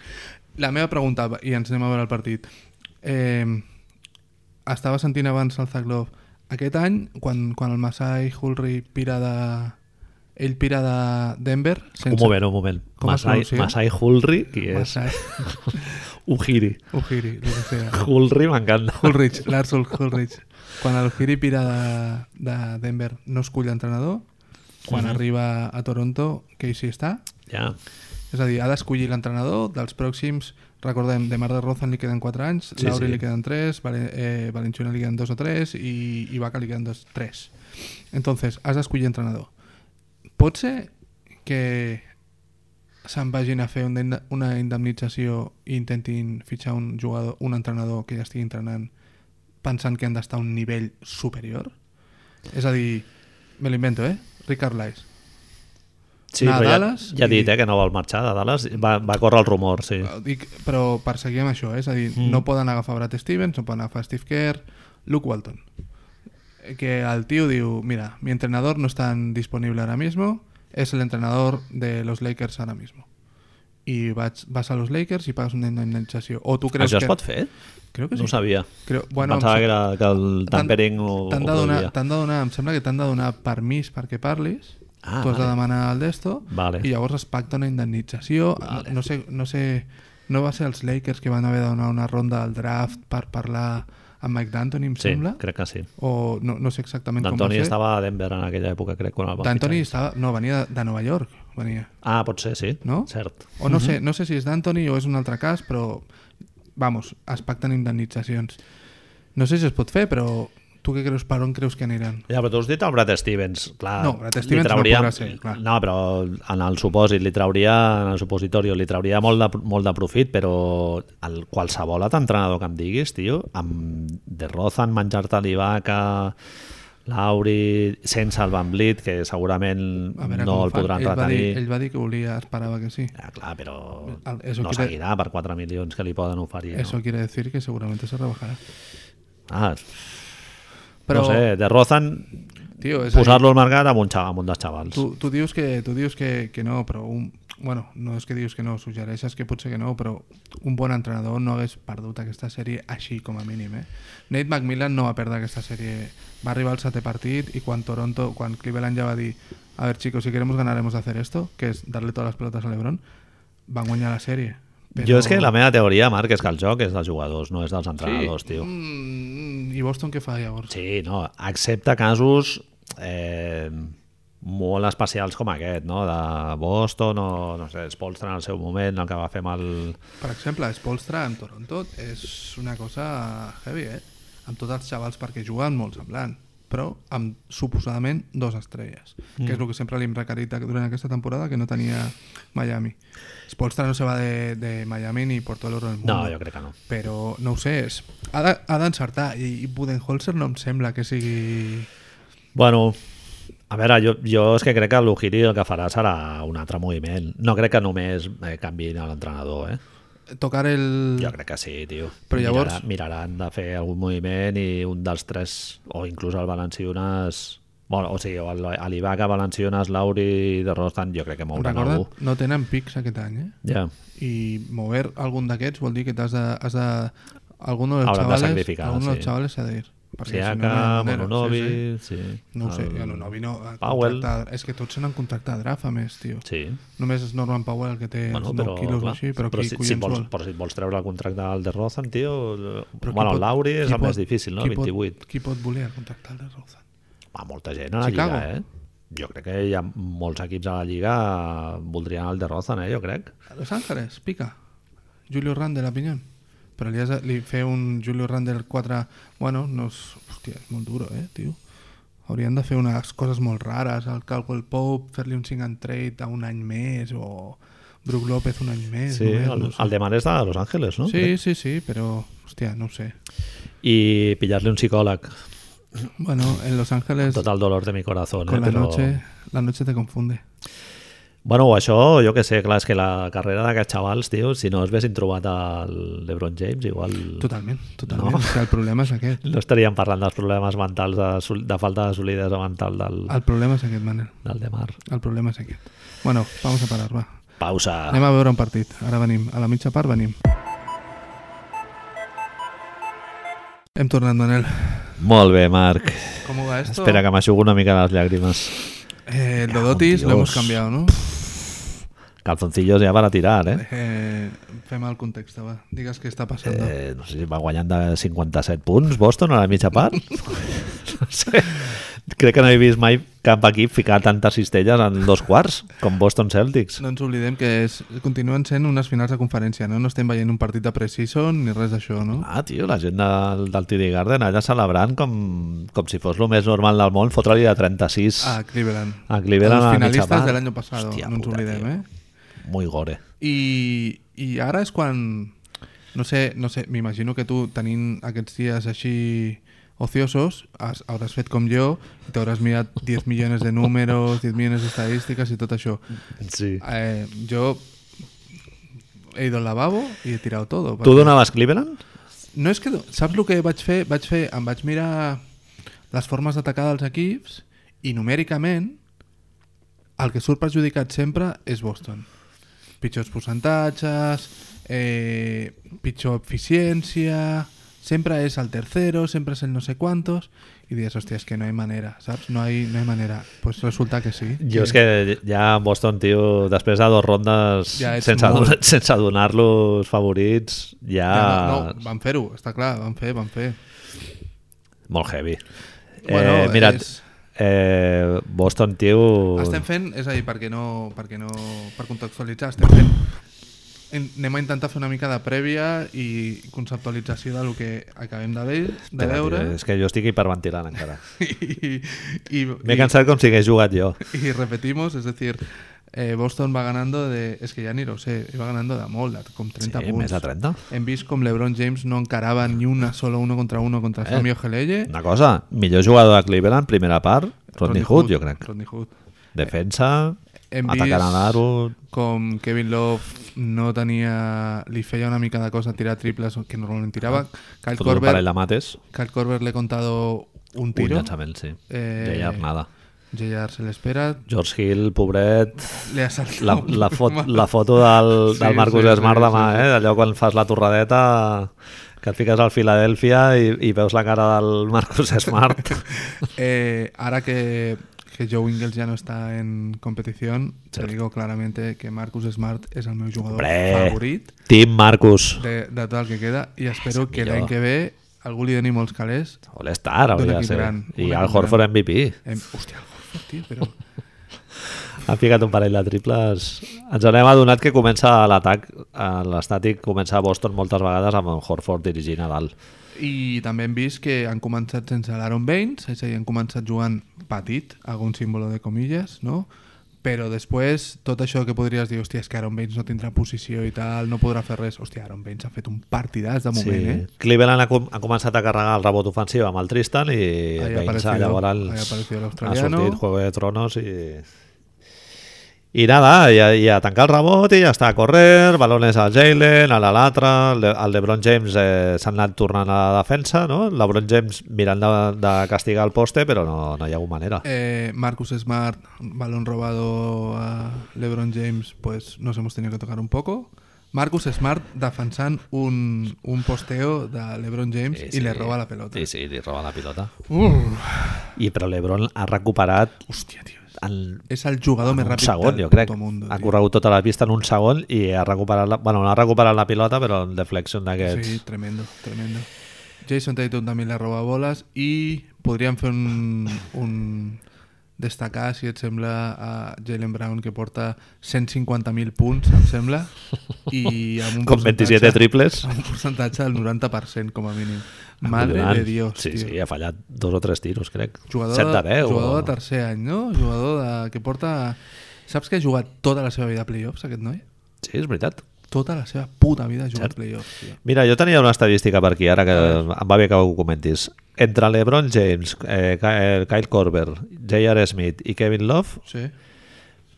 B: La meva pregunta, i ens anem a veure el partit. Eh, estava sentint abans el Zaglov. Aquest any, quan, quan el Masai Hulri pira de... Ell pira de Denver...
A: Un moment, un moment.
B: Com es
A: Masai,
B: pronuncia?
A: Masai Hulri, qui és?
B: Masai,
A: Ujiri.
B: Ujiri, el que sea.
A: Hulri m'encanta.
B: Hulrich, Lars Ul- Hulrich. Quan el Hiri pira de, de Denver no es cull entrenador, quan
A: Mhm.
B: arriba a Toronto, Casey està,
A: Ja.
B: És a dir, ha d'escollir l'entrenador dels pròxims, recordem, de Mar de Rozan li queden 4 anys,
A: Sí,
B: sí, Lauri
A: sí.
B: li queden 3, Valen eh, Valenciana li queden 2 o 3 i Ibaka li queden 2 3. Entonces, has d'escollir entrenador. Pot ser que se'n vagin a fer una inda- una indemnització i intentin fitxar un jugador, un entrenador que ja estigui entrenant pensant que han d'estar a un nivell superior? És a dir, me l'invento, eh? Ricard Lais.
A: Sí,
B: Anar a
A: però ja,
B: Dallas
A: ja ha dit
B: i-
A: eh, que no vol marxar de Dallas. Va, va córrer el rumor, sí.
B: Ho Dic, però perseguir amb això, eh? és a dir, mm. no poden agafar Brad Stevens, no poden agafar Steve Kerr, Luke Walton. Eh, Que el tío diu, mira, mi entrenador no está disponible ahora mismo, es el entrenador de los Lakers ahora mismo. Y vas, vas a los Lakers y pagas una indemnización. O tú crees
A: Això
B: que...
A: es pot fer?
B: Creo que sí.
A: No ho sabia.
B: Creo-
A: Bueno,
B: bueno,
A: Pensava
B: em
A: que,
B: sem-
A: era, que el
B: t'han-
A: tampering ho, ho
B: T'han de, donar,
A: produïa.
B: t'han de donar, em sembla que t'han de donar permís perquè parlis,
A: Ah,
B: tu has
A: vale.
B: de demanar el d'esto,
A: Vale.
B: i llavors es pacta una indemnització, Ah,
A: Vale.
B: no, no, sé, no sé, no va ser els Lakers que van haver de donar una ronda al draft per parlar amb Mike D'Antoni, em
A: Sí,
B: sembla,
A: crec que sí.
B: o no, no sé exactament com va
A: D'Antoni
B: ser.
A: estava a Denver en aquella època, crec, quan el van
B: D'Antoni
A: fitxar.
B: estava, no, venia de, de Nova York, venia.
A: Ah, pot ser, sí.
B: No?
A: Cert.
B: O no, sé, no sé si és d'Anthony o és un altre cas, però, vamos, es pacten indemnitzacions. No sé si es pot fer, però tu què creus, per on creus que aniran?
A: Ja, però tu has dit el Brad Stevens. Clar,
B: No, Brad
A: li
B: Stevens no
A: trauria-
B: podrà ser, clar.
A: No, però en el supòsit, li trauria, en el supositori, li trauria molt de, molt de profit, però el, qualsevol altre entrenador que em diguis, tio, amb De Rozan, menjar-te l'Ivaca, Lauri, sense el Van Blit, que segurament
B: A veure
A: no
B: com
A: el
B: fan.
A: podran
B: ell Va
A: retenir.
B: dir, ell va dir que volia, esperava que sí.
A: Ja, clar, però
B: El- eso
A: no
B: quiere-
A: seguirà per 4 milions que li poden oferir.
B: Eso quiere decir que seguramente se rebajará.
A: No? Ah,
B: Però,
A: no sé, De Rozan
B: tio, és a dir,
A: posar-lo al mercat amb un, xaval, amb un dels xavals.
B: Tu, tu dius, que, tu dius que, que no, però... Un, bueno, no és que dius que no, suggereixes que potser que no, però un bon entrenador no hagués perdut aquesta sèrie així, com a mínim, eh? Nate McMillan no va perdre aquesta sèrie. Va arribar al setè partit i quan Toronto, quan Cleveland ja va dir a ver, chicos, si queremos ganar hemos de hacer esto, que és darle todas las pelotas a LeBron, van guanyar la sèrie. Però-
A: Jo és que la meva teoria, Marc, és que el joc és dels jugadors, no és dels entrenadors, sí. tio.
B: Mm, I Boston què fa llavors?
A: Sí, no, excepte casos eh, molt especials com aquest, no? De Boston o, no sé, Spolstra en el seu moment, el que va fer amb el...
B: Per exemple, Spolstra en Toronto és una cosa heavy, eh? Amb tots els xavals perquè juguen molt semblant, però amb suposadament dos estrelles, mm. que és el que sempre li hem requerit durant aquesta temporada que no tenia Miami. Spolstra no se va de, de Miami ni por todo el oro del mundo.
A: No, jo crec que no.
B: Però no ho sé, és, ha de- ha d'encertar i, i Budenholzer no em sembla que sigui...
A: Bueno, a veure, jo, jo és que crec que l'Ujiri el que farà serà un altre moviment. No crec que només eh, canviïn a l'entrenador, eh?
B: Tocar el...
A: Jo crec que sí, tio.
B: Mm. Però llavors-
A: Miraran, miraran de fer algun moviment i un dels tres, o inclús el Valenciunes... Bueno, o sigui, o el- a l'Ivaca, Valenciunes, Lauri i de Rostan, jo crec que mouran
B: Recorda't,
A: algú.
B: no tenen pics aquest any, eh?
A: Ja.
B: i mover algun d'aquests vol dir que t'has de, has de algun dels
A: Hauran de
B: xavales,
A: sacrificar,
B: algun dels
A: sí.
B: xavales s'ha de ir perquè si no, no hi ha
A: Siaka,
B: manera.
A: Mononovi... Sí,
B: No ho sé,
A: El-
B: el... Anunobi no... ha
A: Powell.
B: contractat- És que tots han contractat draft, a més, tio.
A: Sí.
B: Només és Norman Powell el que té
A: Bueno,
B: els 9
A: però,
B: quilos o
A: clar,
B: així, però,
A: però,
B: qui
A: si, si
B: collons
A: vols,
B: vol?
A: però si et vols treure el contracte al de Rozan, tio...
B: Però
A: Però
B: qui
A: bueno,
B: pot-
A: el Lauri és
B: qui
A: el més
B: pot-
A: difícil, no?
B: qui pot-
A: 28.
B: Qui pot voler contractar el de Rozan?
A: Va, molta gent a la
B: Chicago.
A: Lliga, eh? Jo crec que hi ha molts equips a la Lliga voldrien el de Rozan, eh? Jo crec.
B: A Los Ángeles, pica. Julio Randle, opinió. Però li, has, de- li fer un Julio Randle 4... Bueno, no és... Hòstia, és molt duro, eh, tio. Haurien de fer unes coses molt rares, el Caldwell Pope, fer-li un 5 and trade a un any més, o Brook López un any més.
A: Sí,
B: només,
A: el,
B: no sé.
A: el demand és de Los Angeles, no?
B: sí, sí, sí, però, hòstia, no ho sé.
A: I pillar-li un psicòleg.
B: Bueno, en Los Ángeles,
A: Tot el dolor de mi corazón, eh?
B: con la noche, la noche te confunde.
A: Bueno, o això, jo que sé, clar, és que la carrera d'aquests xavals, tio, si no es haguessin trobat el LeBron James, igual
B: Totalment, totalment.
A: No.
B: No. Que el problema és aquest.
A: no estaríem parlant dels problemes mentals, de, sol- de falta de solidesa mental del,
B: El problema és aquest, Manel.
A: del de Mar.
B: El problema és aquest. Bueno, vamos a parar, va.
A: Pausa.
B: Anem a veure un partit. Ara venim. A la mitja part venim. Hem tornat, Manel.
A: Molt bé, Marc.
B: Com ho va esto?
A: Espera que m'aixugo una mica les llàgrimes.
B: Eh, el Dodotis
A: Dios.
B: lo hemos cambiado, ¿no?
A: Calzoncillos ja per a tirar, eh?
B: Eh, fem el context, va. Digues què està passant. Eh...
A: eh? No sé si va guanyant de 57 punts Boston a la mitja part. no sé. Crec que no he vist mai cap equip ficar tantes cistelles en dos quarts com Boston Celtics.
B: No ens oblidem que és, continuen sent unes finals de conferència, no? No estem veient un partit de pre-season ni res d'això, no?
A: Ah, tio, la gent del, del TD Garden allà celebrant com, com si fos el més normal del món, fotre-li de 36
B: A Cleveland.
A: A Cleveland a
B: Els
A: la mitja
B: finalistes
A: part.
B: de l'any passat,
A: Hòstia
B: no ens
A: puta,
B: oblidem,
A: tio.
B: eh?
A: muy gore.
B: I, i ara és quan no sé, no sé m'imagino que tu tenint aquests dies així ociosos, has, hauràs fet com jo i t'hauràs mirat 10 milions de números 10 milions d'estadístiques i tot això
A: Sí.
B: eh, jo he ido al lavabo i he tirat tot
A: Tu donaves Cleveland?
B: no és que... do- Saps el que vaig fer? Vaig fer... Em vaig mirar les formes d'atacar dels equips i numèricament el que surt perjudicat sempre és Boston. Pitjors percentatges, eh, pitjor eficiència... Sempre és el tercero, sempre és el no sé quantos... I dius, hòstia, és que no hi ha manera, saps? No hi, no hi ha manera. Pues resulta que sí.
A: Jo és que ja Boston, tio, després de dues rondes
B: Ja ets
A: sense,
B: molt.
A: donar, sense donar-los favorits, ja...
B: Ja,
A: Ah.
B: no, no, van fer-ho, està clar, van fer, van fer.
A: Molt heavy.
B: Bueno,
A: eh, mira,
B: és-
A: eh, Boston, tio...
B: Estem fent, és a dir, perquè no, perquè no, per contextualitzar, estem fent en- anem a intentar fer una mica de prèvia i conceptualització del que acabem de, ve, de
A: Espera, tio,
B: veure
A: És que jo estic hiperventilant encara.
B: i, i,
A: M'he
B: i,
A: cansat com si hagués jugat jo.
B: y repetimos, es decir, eh, Boston va ganando de, es que ya ni lo sé, va ganando de molt, con 30
A: Sí,
B: punts.
A: més de 30.
B: Hem vist com LeBron James no encarava ni una sola uno contra uno contra eh. Sammy Ojeleye.
A: Una cosa, millor jugador de Cleveland, primera part, Rodney Hood, jo crec.
B: Rodney Hood.
A: Defensa,
B: Hem
A: atacant a
B: vist-
A: l'aro...
B: com Kevin Love no tenia... li feia una mica de cosa tirar triples que normalment
A: Ah,
B: tirava. Kyle
A: Fotre un parell
B: Korver,
A: de mates,
B: Kyle Korver l'he contado un
A: un
B: tiro.
A: llançament, sí.
B: Eh,
A: Eh... J.R. nada.
B: JR se l'espera.
A: George Hill, pobret,
B: Le ha saltat
A: la,
B: un-
A: la, fot, la foto del,
B: Sí,
A: del Marcus
B: sí, sí,
A: Smart demà,
B: sí, sí.
A: eh? Allò quan fas la torradeta que et fiques al Filadèlfia i, i veus la cara del Marcus Smart.
B: Eh, ahora que, que Joe Ingles ya no está en competición, te digo claramente que Marcus Smart es el meu jugador
A: Hombre.
B: favorit
A: Team Marcus.
B: de, de tot el que queda i espero que
A: millor.
B: l'any que ve algú li doni molts calés.
A: All-Star, hauria
B: Un
A: de
B: equip
A: ser.
B: gran,
A: I
B: un
A: Al
B: equip
A: Horford MVP.
B: Em, hòstia, el Horford, tio, però...
A: Ha ficat un parell de triples. Ens n'hem adonat que comença l'atac. eh, L'estàtic comença a Boston moltes vegades amb en Horford dirigint a dalt.
B: I també hem vist que han començat sense l'Aaron Baines, és a dir, han començat jugant petit, algun símbol de comilles, no? Però després, tot això que podries dir, hòstia, és que Aaron Baines no tindrà posició i tal, no podrà fer res. Hòstia, Aaron Baines ha fet un partidàs de moment, sí. eh?
A: Cleveland ha, com, ha començat a carregar el rebot ofensiu amb el Tristan i
B: Ahí
A: Baines
B: apareció- ahí
A: llavors
B: apareció el
A: ha
B: australiano.
A: sortit Juego de Tronos i... I nada, i a, i a tancar el rebot i ja està a correr, balones al Jalen, a la Latra, el, Le- el LeBron James eh, s'ha anat tornant a la defensa, no? El LeBron James mirant de, de castigar el poste, però no, no hi ha alguna manera.
B: Eh, Marcus Smart, balón robado a LeBron James, pues nos hemos tenido que tocar un poco. Marcus Smart defensant un, un posteo de l'Ebron James sí, sí. i li roba la pelota.
A: Sí, sí, li roba la pilota.
B: Uh,
A: I però l'Ebron ha recuperat
B: hòstia, tio.
A: el,
B: És el jugador més
A: Ah, un
B: ràpid
A: segon,
B: del
A: jo crec.
B: puto mundo,
A: ha
B: tio.
A: corregut tota la pista en un segon i ha recuperat la, bueno, no ha recuperat la pilota, però el deflection d'aquests...
B: Sí, tremendo, tremendo. Jason Tatum també li roba boles i podríem fer un, un destacar, si et sembla, a Jalen Brown, que porta 150.000 punts, em sembla, i amb un
A: Com 27
B: porcentatge-
A: triples.
B: Amb un percentatge del 90%, com a mínim. Madre
A: Collonant.
B: de Dios,
A: Sí,
B: tio.
A: sí, ha fallat dos o tres tiros, crec.
B: Jugador,
A: Set de 10.
B: jugador
A: o-
B: de tercer any, no? Jugador de, que porta... Saps que ha jugat tota la seva vida a playoffs, aquest noi?
A: Sí, és veritat.
B: Tota la seva puta vida ha jugat a playoffs, tio.
A: Mira, jo tenia una estadística per aquí, ara que em va bé que ho comentis. Entre l'Ebron James, eh, Ka- eh, Kyle Korver, J.R. Smith i Kevin Love
B: Sí.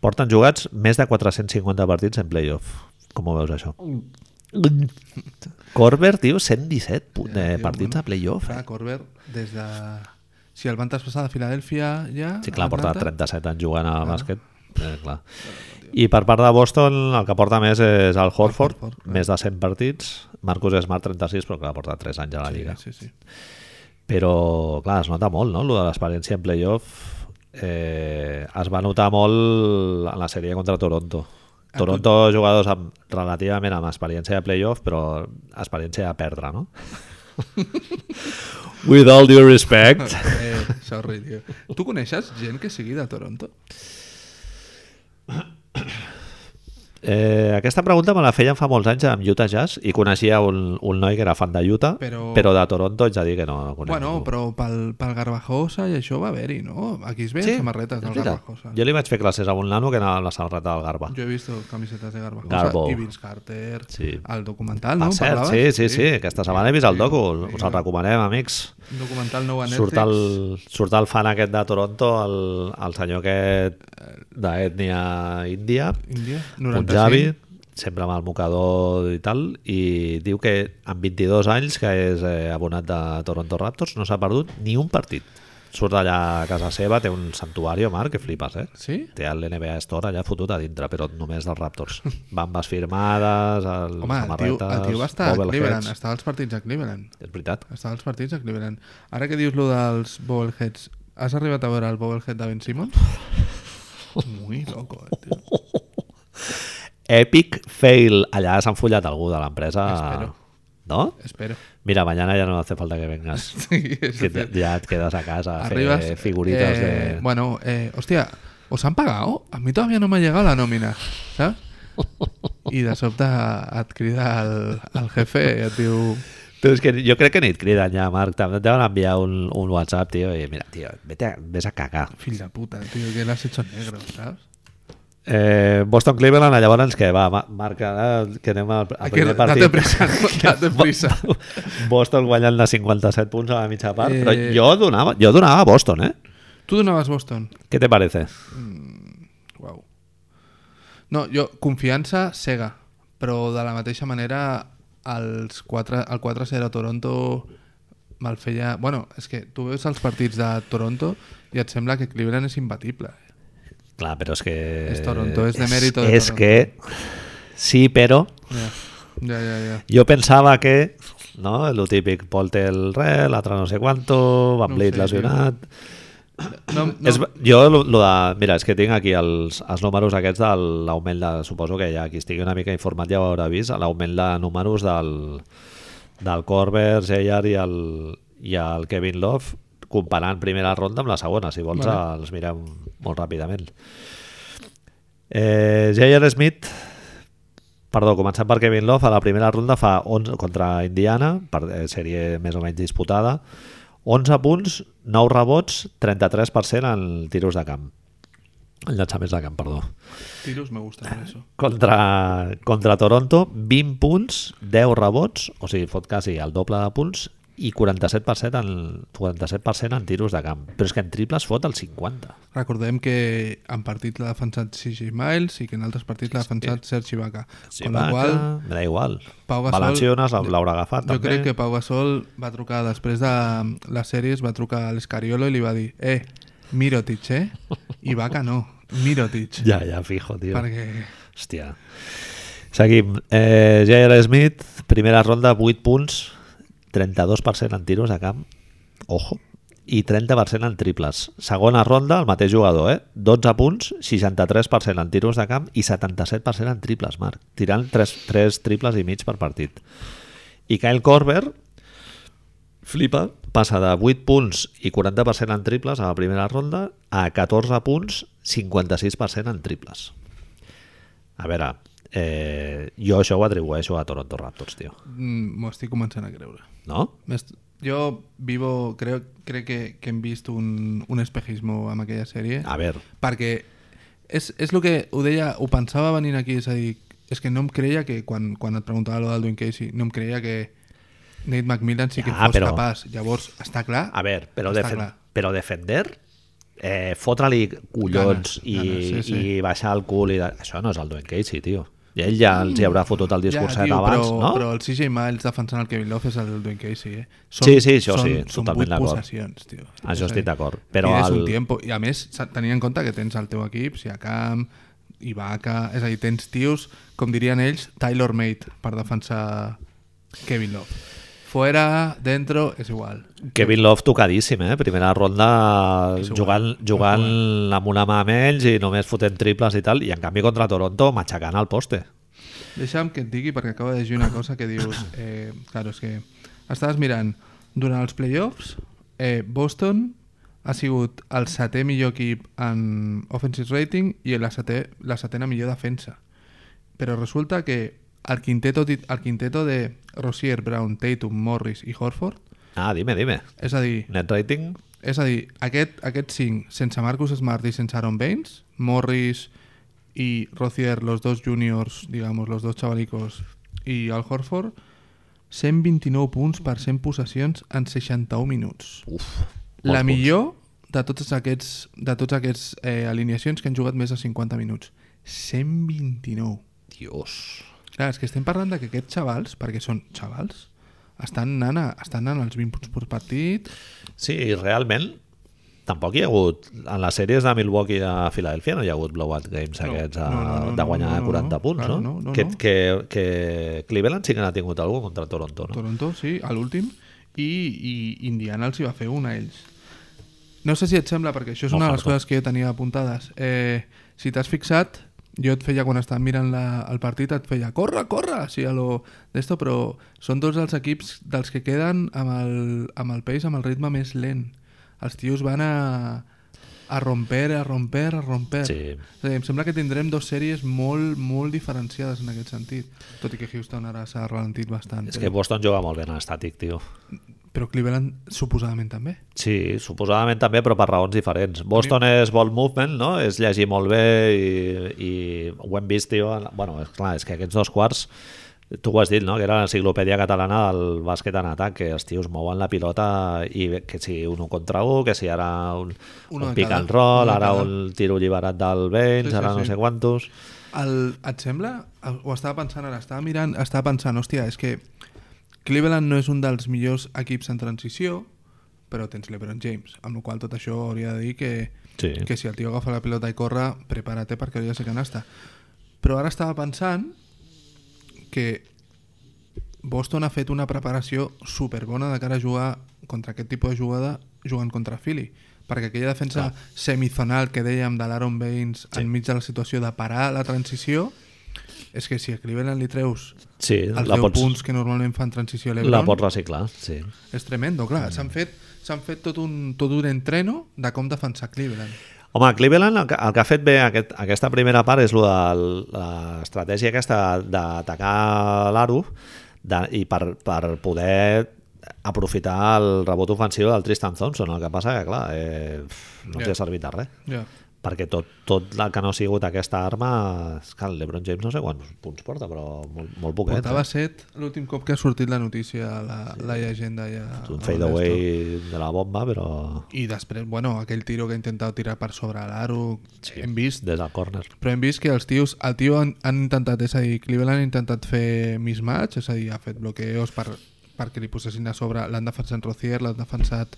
A: porten jugats més de 450 partits en playoff. Com ho veus, això? Korver, tio, 117 pu- eh,
B: Ja, tio, Ah,
A: partits
B: bueno.
A: de playoff.
B: Clar,
A: Eh?
B: Corber, des de... Si el van traspassar de Filadèlfia ja...
A: Sí, clar,
B: a
A: porta
B: Atlanta,
A: 37 anys jugant
B: Ah.
A: a bàsquet. Eh, clar. I per part de Boston, el que porta més és el Horford,
B: Horford, eh. clar.
A: més de 100 partits. Marcus Smart, 36, però clar, porta 3 anys a la Lliga.
B: Sí, sí.
A: Però, clar, es nota molt, no?, lo de l'experiència en playoff. Eh, es va notar molt en la sèrie contra Toronto.
B: A
A: Toronto, jugadors amb, relativament amb experiència de playoff, però experiència de perdre, no? With all due respect.
B: Eh, sorry, tio. Tu coneixes gent que sigui de Toronto?
A: Eh, aquesta pregunta me la feien fa molts anys amb Utah Jazz i coneixia un, un noi que era fan de Utah,
B: Però-
A: però, però de Toronto haig de dir que no, no conec
B: bueno,
A: ningú.
B: però pel, pel Garbajosa i això va haver-hi, no? Aquí es veien samarretes
A: és
B: del
A: veritat.
B: Garbajosa.
A: Jo li vaig fer classes a un nano que anava amb la samarreta del Garba.
B: Jo he vist camisetes de Garbajosa
A: Garbo.
B: i Vince Carter,
A: Sí.
B: el documental,
A: Per
B: no?
A: cert,
B: Parlaves?
A: sí, sí, sí, aquesta setmana he vist el docu, us el
B: vinga.
A: recomanem, amics.
B: Un documental nou a Netflix.
A: Surt el, surt el fan aquest de Toronto, el, el senyor aquest d'ètnia índia,
B: Índia, 95.
A: punjabi, sempre amb el mocador i tal, i diu que amb 22 anys, que és eh, abonat de Toronto Raptors, no s'ha perdut ni un partit. Surt allà a casa seva, té un santuari, Marc, que flipes, eh?
B: Sí?
A: Té l'NBA Store allà fotut a dintre, però només dels Raptors. Bambes firmades, el,
B: Home, el tio, el tio va estar a Cleveland, estava als partits a Cleveland.
A: És veritat.
B: Estava als partits a Cleveland. Ara que dius lo dels bobbleheads, has arribat a veure el bobblehead de Ben Simmons? Muy loco, eh, tio.
A: Epic fail. Allà s'ha enfollat algú de l'empresa.
B: Espero.
A: No?
B: Espero.
A: Mira, mañana ya no hace falta que vengas.
B: Sí, és
A: que te- ya te quedas a casa a hacer
B: Arribas,
A: figuritas
B: eh,
A: de...
B: Bueno, eh, hostia, ¿os han pagado? A mí todavía no me ha llegado la nómina, ¿sabes? I de sobte et crida el, el jefe eh, i et diu...
A: Però és que jo crec que ni et criden ja, Marc. També et deuen enviar un, un WhatsApp, tio, i mira, tio, vete a, ves a cagar.
B: Fill de puta, tio, que l'has hecho negro, ¿sabes?
A: Eh, Boston Cleveland, llavors què? Va, Ma- Marc, ara que anem al, al
B: Aquí,
A: primer partit.
B: date prisa, date prisa.
A: Boston guanyant de 57 punts a la mitja part. Eh... Però
B: Eh.
A: jo donava, jo donava a Boston, eh?
B: Tu donaves Boston.
A: Què te parece?
B: Wow. No, jo, confiança cega, però de la mateixa manera els 4, el 4-0 a Toronto me'l feia... Bueno, és que tu veus els partits de Toronto i et sembla que Cleveland és imbatible. eh?
A: Clar, però és que...
B: És Toronto, és de mérito de
A: És
B: Toronto.
A: que... Sí, però...
B: Ja, ja, ja. ja.
A: Yo pensava que... No? Lo típic, Poltel re, l'altre no sé quanto, Van
B: No ho
A: Vliet
B: sé,
A: lesionat...
B: No,
A: No.
B: no,
A: És, jo, lo, lo de, mira, és que tinc aquí els, els números aquests de l'augment de... Suposo que ja qui estigui una mica informat ja ho haurà vist, l'augment de números del, del Corber, Zeyar i el, i el Kevin Love comparant primera ronda amb la segona. Si vols,
B: Vale.
A: vale. els mirem molt ràpidament. Eh, J.R. Smith Perdó, començant per Kevin Love, a la primera ronda fa 11 contra Indiana, per eh, sèrie més o menys disputada, 11 punts, 9 rebots, 33% en tiros de camp. En llançaments de camp, perdó.
B: tiros me gusta per això.
A: Contra, contra Toronto, 20 punts, 10 rebots, o sigui, fot quasi el doble de punts, i 47% en, 47 en tiros de camp. Però és que en triples fot el 50.
B: Recordem que en partit l'ha defensat CJ Miles i que en altres partits l'ha defensat Sergi Vaca.
A: Sí,
B: Con
A: va,
B: la qual
A: que- me da igual.
B: Pau Gasol-
A: Valenciunas l'haurà agafat,
B: Jo
A: Ah, també.
B: crec que Pau Gasol va trucar després de les sèries, va trucar a l'Escariolo i li va dir eh, Mirotic, eh? I Vaca no, Mirotic.
A: Ja, ja, fijo, tio.
B: Perquè...
A: Hòstia. Seguim. Eh, J.R. Smith, primera ronda, 8 punts, 32% en tiros a camp, ojo, i 30% en triples. Segona ronda, el mateix jugador, eh? 12 punts, 63% en tiros de camp i 77% en triples, Marc. Tirant 3, 3 triples i mig per partit. I Kyle Korver, flipa, passa de 8 punts i 40% en triples a la primera ronda a 14 punts, 56% en triples. A veure, eh, jo això ho atribueixo a Toronto Raptors, tio.
B: Mm, M'ho estic començant a creure.
A: No?
B: M'est- Jo vivo, creo, crec que, que hem vist un, un espejismo amb aquella sèrie.
A: A veure,
B: perquè és, és el que ho deia, ho pensava venint aquí, és a dir, és que no em creia que quan, quan et preguntava lo del Dwayne Casey, no em creia que Nate McMillan sí que
A: Ja,
B: ja, fos
A: però-
B: però... capaç. Llavors, està clar?
A: a veure, però,
B: Està
A: defen
B: clar.
A: però defender eh, fotre-li collons
B: Ganes,
A: i,
B: ganes, sí, sí.
A: i baixar el cul i de... això no és el Dwayne Casey, tio I ell ja els hi haurà fotut el discurset
B: tio,
A: abans,
B: però,
A: no?
B: Però el CJ Miles defensant el Kevin Love és el Dwayne Casey, eh?
A: Sí, sí, això sí,
B: són
A: totalment
B: vuit
A: d'acord.
B: possessions, tio.
A: Això
B: És a
A: estic
B: dir,
A: d'acord, però
B: Tires
A: el-
B: un tiempo. I a més, s'ha- tenint en compte que tens el teu equip, si a camp, Ibaka... És a dir, tens tios, com dirien ells, Taylor Made per defensar Kevin Love. Fuera, dentro, és igual.
A: Kevin Love tocadíssim, eh? Primera ronda
B: És igual,
A: jugant, jugant amb una mà menys i només fotent triples i tal, i en canvi contra Toronto matxacant al poste.
B: Deixa'm que et digui, perquè acabo de llegir una cosa que dius... Eh, claro, és que estaves mirant, durant els playoffs, eh, Boston ha sigut el setè millor equip en offensive rating i la, setè, la setena millor defensa. Però resulta que el quinteto, tit- el quinteto de Rozier, Brown, Tatum, Morris i Horford,
A: Ah, dime, dime.
B: és a dir,
A: Net rating?
B: és a dir, aquest, aquest 5, sense Marcus Smart i sense Aaron Baines, Morris i Rocier, los dos juniors, digamos, los dos chavalicos, i el Horford, 129 punts per 100 possessions en 61 minuts.
A: Uf.
B: La
A: molts
B: millor de tots aquests, de tots aquests eh, alineacions que han jugat més de 50 minuts. 129.
A: punts. Dios.
B: Clar, és que estem parlant de que aquests xavals, perquè són xavals, estan anant, a, estan anant als 20 punts per partit,
A: Sí, i realment tampoc hi ha hagut, en les sèries de Milwaukee a Filadèlfia no hi ha hagut blowout games
B: No,
A: aquests a,
B: no, no, no,
A: de guanyar
B: no, no,
A: 40
B: no,
A: punts,
B: clar,
A: no?
B: no, no,
A: que,
B: no.
A: que, que Cleveland sí que n'ha tingut algú contra Toronto, no?
B: Toronto, sí, a l'últim, i, i Indiana els hi va fer un a ells. No sé si et sembla, perquè això és
A: Molt
B: una de les
A: farta.
B: coses que jo tenia apuntades. Eh, si t'has fixat, jo et feia, quan estàvem mirant la, el partit, et feia corre, corre, sí, a lo d'esto, però són tots els equips dels que queden amb el, amb el pace, amb el ritme més lent. Els tios van a, a romper, a romper, a romper.
A: Sí.
B: És a dir, em sembla que tindrem dues sèries molt, molt diferenciades en aquest sentit, tot i que Houston ara s'ha ralentit bastant.
A: És
B: però-
A: que Boston juga molt bé en estàtic, tio.
B: però Cleveland suposadament també.
A: Sí, suposadament també, però per raons diferents. Boston és ball movement, no? És llegir molt bé i, i ho hem vist, tio. en- Bueno, és clar, és que aquests dos quarts, tu ho has dit, no? Que era l'enciclopèdia catalana del bàsquet en atac, que els tios mouen la pilota i que si un un contra un, que si ara un, un
B: Uno de
A: pick
B: cada,
A: and roll,
B: uno de
A: ara
B: cada.
A: un tiro alliberat del Baines,
B: Sí, sí,
A: ara no
B: sí.
A: sé quantos...
B: El, et sembla? Ho estava pensant ara, estava mirant, estava pensant, hòstia, és que Cleveland no és un dels millors equips en transició, però tens LeBron James, amb la qual cosa tot això hauria de dir que,
A: Sí.
B: que si el tio agafa la pilota i corre, prepara't perquè hauria de ser canasta. Però ara estava pensant que Boston ha fet una preparació superbona de cara a jugar contra aquest tipus de jugada jugant contra Philly perquè aquella defensa ah. semizonal que dèiem de l'Aaron Baines sí. enmig de la situació de parar la transició és que si a Cleveland li treus
A: Sí,
B: els
A: la
B: 10
A: pots,
B: punts que normalment fan transició a
A: la
B: l'Ebron
A: pots Mm. reciclar, sí.
B: és tremendo, clar, s'han fet, s'han fet tot, un, tot un entreno de com defensar Cleveland
A: Home, Cleveland el que, el que ha fet bé aquest, aquesta primera part és lo de l'estratègia aquesta d'atacar l'aro de- i per, per poder aprofitar el rebot ofensiu del Tristan Thompson. El que passa que, clar, eh, no ens
B: Ja.
A: ha servit de res.
B: ja yeah.
A: Perquè tot, tot el que no ha sigut aquesta arma... És que el LeBron James no sé quants punts porta, però molt, molt poquet.
B: Portava
A: Eh?
B: set l'últim cop que ha sortit la notícia, la, la llegenda ja...
A: Un fadeaway de la bomba, però
B: I després, bueno, aquell tiro que ha intentat tirar per sobre l'aro, sí. hem vist...
A: des del córner.
B: Però hem vist que els tios, el tio han, han intentat, és a dir, Cleveland ha intentat fer mismatch, és a dir, ha fet bloqueos per, perquè li posessin a sobre, l'han defensat Rocier, l'han defensat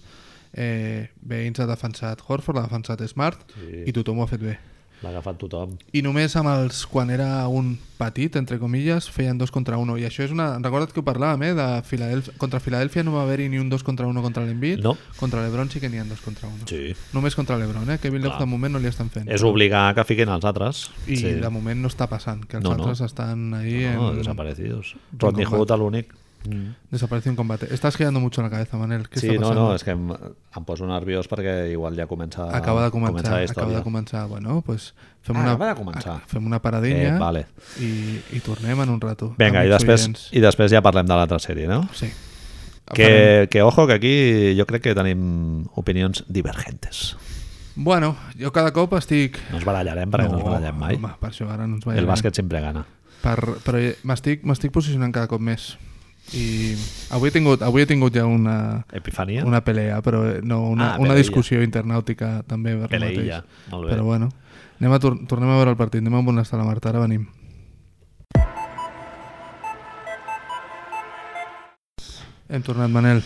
B: eh, Baines, ha defensat Horford, l'ha defensat Smart,
A: Sí.
B: i tothom ho ha fet bé.
A: L'ha agafat tothom.
B: I només amb els, quan era un petit, entre comilles, feien dos contra uno. I això és una... Recorda't que ho parlàvem, eh? De Filadelf... Contra Filadèlfia no va haver-hi ni un dos contra uno contra l'Envit.
A: No.
B: Contra l'Ebron sí que n'hi ha dos contra uno.
A: Sí.
B: Només contra l'Ebron, eh? Kevin Love de moment no li estan fent.
A: És obligar que fiquin els altres.
B: I
A: sí.
B: de moment no està passant, que els
A: No, no.
B: altres estan ahí
A: No,
B: en...
A: desaparecidos. Rodney Hood, l'únic. Mm.
B: Desaparece un combate. Estás girando mucho en la cabeza, Manel. ¿Qué
A: Sí,
B: está
A: no,
B: pasando?
A: no, és que em, em poso nerviós perquè igual ja comença,
B: Acaba de començar,
A: comença la
B: acaba
A: història.
B: de començar. Bueno, pues fem
A: Ah,
B: una,
A: acaba de començar.
B: ah, fem una paradinha
A: Eh, vale.
B: Ah, i, i tornem en un rato.
A: Vinga, i
B: Amics
A: després,
B: oients.
A: i després ja parlem de l'altra sèrie, no?
B: Sí. Farem-
A: Que, que ojo, que aquí jo crec que tenim opinions divergentes.
B: Bueno, jo cada cop estic...
A: No ens barallarem perquè no, no ens barallem mai.
B: Home, per això ara no ens
A: El
B: barallem.
A: bàsquet sempre gana.
B: Per, però m'estic m'estic posicionant cada cop més. I avui he tingut, avui he tingut ja una,
A: Epifania?
B: una pelea, però eh, no,
A: Ah,
B: una, una
A: peleilla.
B: discussió internàutica també per lo
A: Peleilla,
B: mateix.
A: molt bé.
B: Però bueno, anem a tor tornem a veure el partit, anem a on està la Marta, ara venim. Hem tornat, Manel.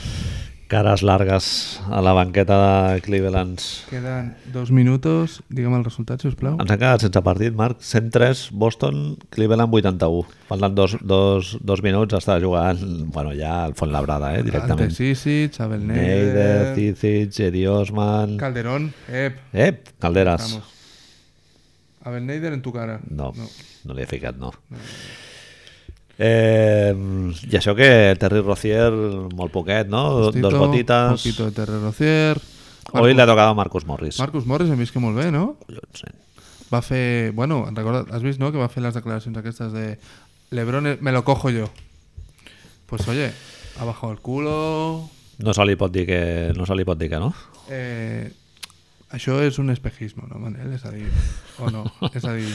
A: Cares largues a la banqueta de Cleveland's.
B: Queden dos minuts. Digue'm el resultat, si us plau.
A: Ens han quedat sense partit, Marc. 103, Boston, Cleveland 81. Falten dos, dos, dos minuts, està jugant bueno, ja al Font Labrada, eh,
B: Ante
A: directament.
B: Sisic, Abel
A: Neider,
B: Neider,
A: Cicic, Edi Osman...
B: Calderón, Ep,
A: Ep, Calderas.
B: vamos. Abel Neider en tu cara.
A: No, no, no l'he ficat, no. Eh, I això que Terry Rozier, molt poquet, no?
B: Tito,
A: Dos botites.
B: Poquito de Terre Rozier.
A: Hoy le ha tocado Marcus Morris.
B: Marcus Morris hem vist que molt bé, no?
A: Collons, eh. nen.
B: Va fer... Bueno, en recorda, has vist, no?, que va fer les declaracions aquestes de Lebron eh, me lo cojo yo. Pues oye, abajo el culo...
A: No se li pot dir que no. Se li pot dir que no.
B: Eh, això és un espejismo, no, Manel? És a dir... O no? És a dir...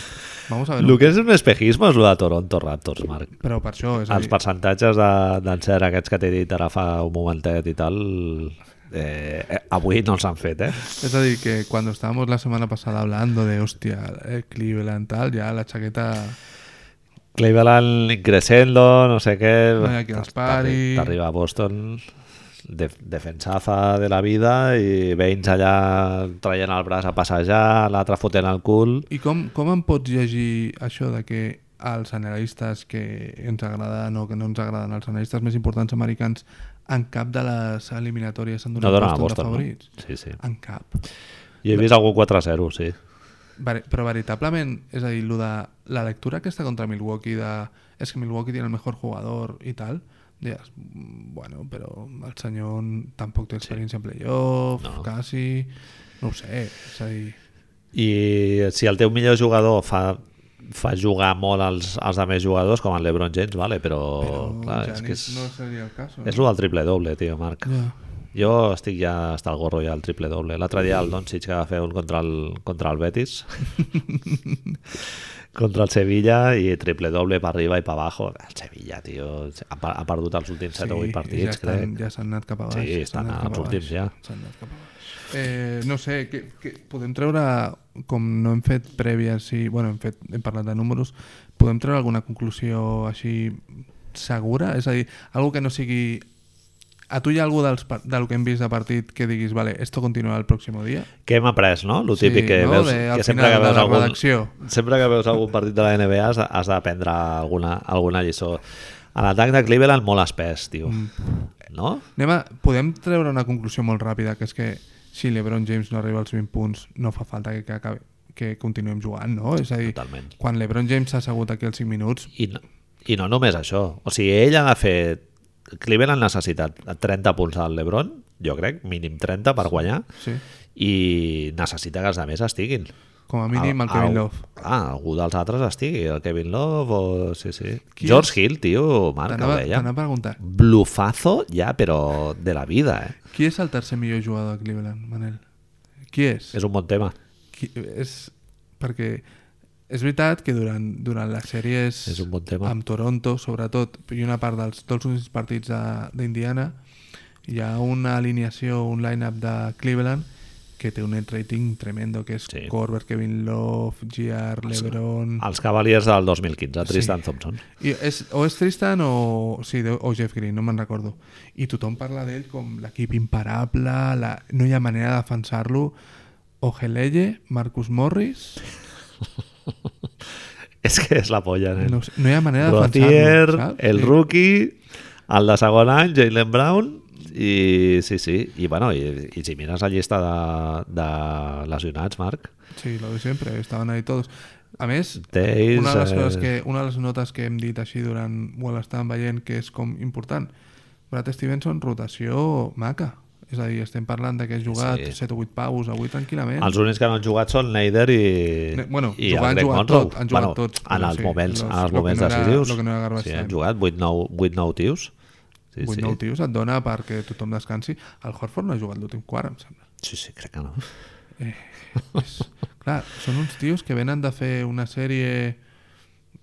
B: Vamos a ver...
A: El que és un espejisme és el de Toronto Raptors, Marc.
B: Però per això, és a
A: Els
B: dir...
A: percentatges de- d'encert aquests que t'he dit ara fa un momentet i tal, eh, eh, avui no els han fet, eh?
B: Es decir, que cuando estábamos la semana pasada hablando de hostia, eh, Cleveland tal, ya la chaqueta
A: Cleveland increscendo, no sé què...
B: No hi ha qui els pari.
A: T'arriba a Boston, de, defensaza de la vida i veïns allà traient el braç a passejar, l'altre fotent el cul...
B: I com, com em pots llegir això de que els analistes que ens agraden o que no ens agraden, els analistes més importants americans, en cap de les eliminatòries han
A: No
B: donat
A: dona a
B: Boston, de
A: Boston,
B: favorits?
A: no? Sí, sí.
B: En cap.
A: Jo he vist algú 4-0, sí.
B: Vere- però veritablement, és a dir, lo de la lectura aquesta contra Milwaukee de és que Milwaukee tiene el mejor jugador i tal, deies, "Mm, bueno, però el senyor tampoc té experiència en playoff,
A: No.
B: no. quasi... No ho sé, és a dir...
A: I si el teu millor jugador fa, fa jugar molt als, als altres jugadors, com el LeBron James, vale, però,
B: Però
A: Oh, clar, és
B: Giannis
A: que és,
B: no seria el cas.
A: és el del triple-doble, tio, Marc.
B: Ja.
A: Jo estic ja hasta el gorro ja al triple-doble. L'altre dia el Doncic que va fer un contra el, contra el Betis, contra el Sevilla, i triple-doble per arriba i per abajo. El Sevilla, tio, ha, per- ha perdut els últims 7 o 8
B: i ja
A: partits,
B: estan-
A: crec.
B: Ja s'han anat cap a baix.
A: Sí,
B: s'han
A: estan
B: anat
A: als
B: cap a baix,
A: últims, ja.
B: s'han anat cap a baix. Eh, no sé, que, que podem treure, com no hem fet prèvies, sí, bueno, hem, fet, hem parlat de números, podem treure alguna conclusió així segura? És a dir, algo que no sigui... A tu hi ha algú dels, par- del que hem vist de partit que diguis, vale, esto continuarà el pròxim dia?
A: Què hem après, no? Lo típic que
B: no?
A: veus...
B: De, al
A: que sempre
B: final
A: que
B: de
A: veus
B: la
A: algun,
B: redacció.
A: sempre que veus algun partit de la NBA has, de- has d'aprendre alguna, alguna lliçó. A l'atac de Cleveland molt espès, tio.
B: Mm.
A: No?
B: Anem a, podem treure una conclusió molt ràpida, que és que si LeBron James no arriba als 20 punts, no fa falta que, que, acabi, que continuem jugant, no? És a dir,
A: Totalment.
B: quan LeBron James s'ha assegut aquí als 5 minuts,
A: I no, I no només això. O sigui, ell ha de fer... Cleveland ha necessitat 30 punts al LeBron, jo crec, mínim 30 per guanyar,
B: sí,
A: i necessita que els altres estiguin.
B: com a mínim el Kevin Love.
A: Ah, algú dels altres estigui, el Kevin Love o... Sí, sí. George Hill, tio, Marc, ho
B: T'anava
A: deia.
B: t'anava a preguntar,
A: Blufazo ja, però de la vida, eh?
B: qui és el tercer millor jugador de Cleveland, Manel? Qui és?
A: És un bon tema.
B: Qui, és perquè és veritat que durant, durant les sèries
A: És un bon tema.
B: amb Toronto, sobretot, i una part dels dos últims partits de- d'Indiana, hi ha una alineació, un line-up de Cleveland que té un net rating tremendo, que és
A: Sí. Ah,
B: sí. Corber, Kevin Love, G.R., LeBron...
A: Els Cavaliers del 2015, Tristan Thompson.
B: I és, o és Tristan o, sí, de- o Jeff Green, no me'n recordo. I tothom parla d'ell com l'equip imparable, la, no hi ha manera de defensar-lo. Ogeleye, Marcus Morris,
A: és que és la polla, nen.
B: No, ho sé, no hi ha manera de
A: Rotier,
B: defensar-lo, saps?
A: el
B: Sí.
A: rookie, el de segon any, Jalen Brown, i sí, sí, i bueno, i, i si mires la llista de, de lesionats, Marc,
B: Sí, lo de siempre, estaban ahí todos. A més,
A: Tails,
B: una de les, coses
A: eh,
B: que, una de les notes que hem dit així durant o l'estàvem veient que és com important Brad Stevenson, rotació maca és a dir, estem parlant de que has jugat
A: Sí.
B: 7 o 8 paus avui tranquil·lament
A: els únics que no han jugat són Neider i,
B: Ne- bueno,
A: i
B: jugar, han
A: el Greg
B: jugat
A: Monroe.
B: tot, han jugat tot,
A: en
B: però
A: els
B: sí,
A: moments,
B: los-
A: en els
B: lo que
A: moments
B: no era-
A: decisius.
B: lo que no era Garbage
A: sí, han
B: Time.
A: jugat 8-9 8-9 tios. Sí,
B: Vuit,
A: sí.
B: nou tios et dona perquè tothom descansi el Horford no ha jugat l'últim quart, em sembla
A: sí, sí, crec que no.
B: Eh, és, clar, són uns tios que venen de fer una sèrie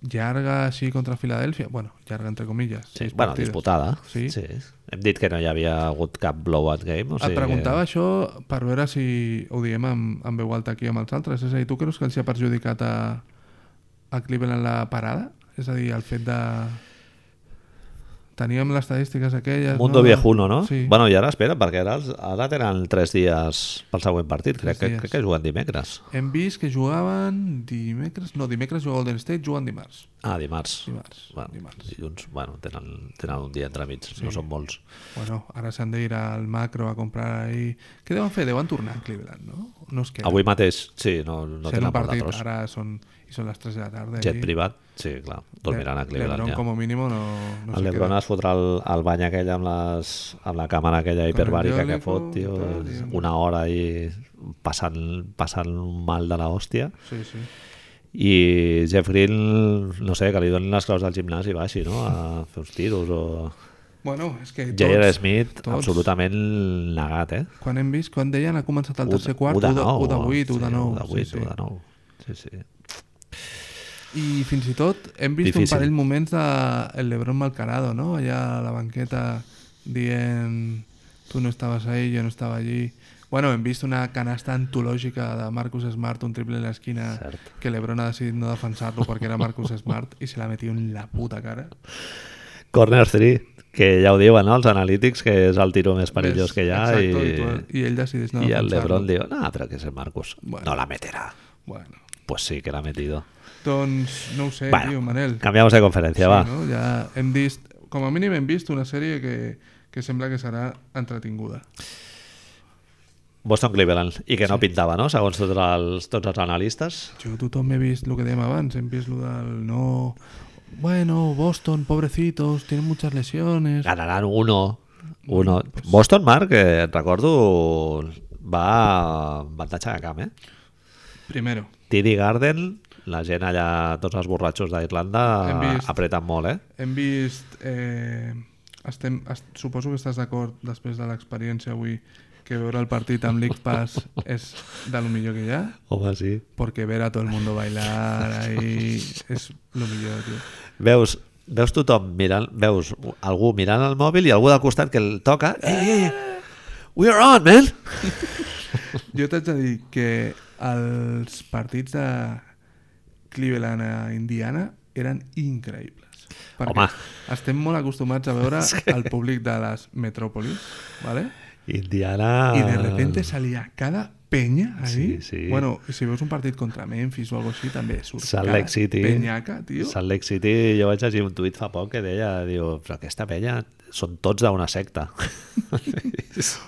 B: llarga així contra Filadèlfia. Bueno, llarga entre comilles.
A: Sí,
B: sis
A: bueno,
B: partides.
A: disputada.
B: Sí.
A: sí. Hem dit que no hi havia hagut cap blowout game. O
B: Et
A: sigui
B: preguntava això per veure si ho diem amb, amb veu alta aquí amb els altres. És a dir, tu creus que els hi ha perjudicat a, a Cleveland la parada? És a dir, el fet de... Teníem les estadístiques aquelles...
A: Que... Mundo
B: no?
A: viejuno, no?
B: Sí.
A: Bueno, i ara espera, perquè ara, els, ara tenen 3 dies pel següent partit. Crec
B: Tres
A: que,
B: dies.
A: crec que juguen dimecres.
B: Hem vist que jugaven dimecres... No, dimecres juga Golden State, juguen dimarts.
A: Ah, dimarts.
B: Dimarts,
A: Bueno,
B: dimarts.
A: Dilluns, bueno, tenen, tenen un dia entremig, sí. no són molts.
B: Bueno, ara s'han d'ir al macro a comprar ahí... Què deuen fer? Deuen tornar a Cleveland, no? No es queda.
A: Avui mateix, sí, no, no
B: Sent
A: tenen
B: un
A: molt de
B: partit,
A: tros.
B: ara són, i són les 3 de la tarda.
A: Jet
B: i-
A: privat, sí, clar, dormiran a
B: Le-
A: Cleveland
B: Lebron,
A: ja.
B: com a mínim, no, no
A: el
B: se
A: Lebron
B: queda.
A: es fotrà el, el bany aquell amb, les, amb la càmera aquella
B: Con el
A: hiperbàrica que
B: eólico,
A: fot, tio,
B: tal, i-
A: una hora ahí passant, passant un mal de la hòstia.
B: Sí, sí.
A: I Jeff Green, no sé, que li donin les claus del gimnàs i baixi, no?, a fer uns tiros o...
B: Bueno, és que
A: J.R.
B: tots,
A: Smith,
B: tots.
A: absolutament negat, eh?
B: quan hem vist, quan deien, ha començat el tercer quart,
A: u
B: 1 de,
A: nou,
B: 1 de 8, 1
A: sí,
B: de 9.
A: u de 8,
B: sí,
A: u
B: sí.
A: de 9. Sí, sí.
B: I fins i tot hem vist
A: Difícil.
B: un parell moments de el Lebron Malcarado, no? Allà a la banqueta dient tu no estaves ahí, jo no estava allí. Bueno, hem vist una canasta antològica de Marcus Smart, un triple en l'esquina
A: Cert.
B: que Lebron ha decidit no defensar-lo perquè era Marcus Smart i se la metia en la puta cara.
A: Corner 3, que ja ho diuen no? els analítics, que és el tiro més perillós que hi ha.
B: Exacto,
A: i...
B: i, tu, i ell decideix no
A: y el
B: defensar-lo.
A: LeBron dijo, no, pero que es el Marcus.
B: Bueno.
A: No la meterá.
B: Bueno,
A: Pues sí, que la ha metido.
B: doncs no ho sé,
A: Bueno,
B: tio, Manel.
A: Cambiamos de conferencia, va.
B: Sí, no? Ja hem vist, com a mínim hem vist una sèrie que, que sembla que serà entretinguda.
A: Boston Cleveland. Y que no pintaba, ¿no? Según todos los, tots els analistes.
B: Jo tothom he vist el que dèiem abans, hem vist lo del no... Bueno, Boston, pobrecitos, tienen muchas lesiones...
A: Ganaran uno. uno.
B: pues-
A: Boston, Marc, eh, et recordo, va amb avantatge de camp, eh?
B: Primero,
A: TD Garden, la gent allà, tots els borratxos
B: Hem
A: d'Irlanda,
B: vist.
A: apreten molt, eh?
B: hem vist... Eh, estem, es, suposo que estàs d'acord, després de l'experiència avui, que veure el partit amb League Pass és de lo millor que hi ha,
A: Home, sí.
B: porque ver a todo el mundo bailar ahí es lo millor, tío.
A: Veus, veus tothom mirant, veus algú mirant el mòbil i algú del costat que el toca. Ei, ei, ei. We are on, man!
B: Jo t'haig de dir que els partits de Cleveland a Indiana eren increïbles. Perquè
A: Home.
B: estem molt acostumats a veure el públic de les metròpolis, ¿vale?
A: Indiana...
B: i de repente salia cada penya ahí.
A: Ah. Sí, sí.
B: Bueno, i si veus un partit contra Memphis o algo així, també surt
A: Salt
B: cada
A: Lake City.
B: penyaca, tio.
A: Salt Lake City, jo vaig llegir un tuit fa poc que deia, diu, però aquesta penya són tots d'una secta.
B: Ei,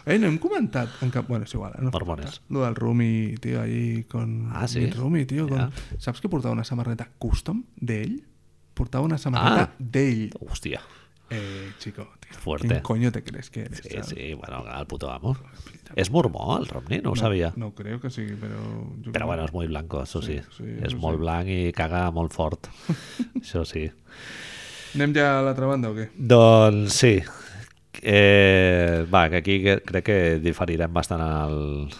B: Eh, no hem comentat en cap... Bueno, és igual. ara No
A: Mormones.
B: Lo del Rumi, tío, allí con...
A: Ah, sí?
B: Mitt Rumi, tío. Con...
A: Ja.
B: Saps que portava una samarreta custom d'ell? Portava una samarreta
A: Ah.
B: d'ell.
A: Hòstia.
B: Eh, chico, tío.
A: Fuerte.
B: ¿Quién coño te crees que eres?
A: Sí,
B: saps?
A: sí, bueno, el puto amo. És mormó, el Romney? No ho sabia.
B: No creo que sí, pero...
A: Però
B: yo creo-
A: bueno, és molt blanco, això sí.
B: Sí, sí,
A: és
B: no
A: molt
B: sé.
A: blanc i caga molt fort. això sí.
B: Anem ja a l'altra banda o què?
A: Doncs sí. Eh, va, que aquí que- crec que diferirem bastant en el,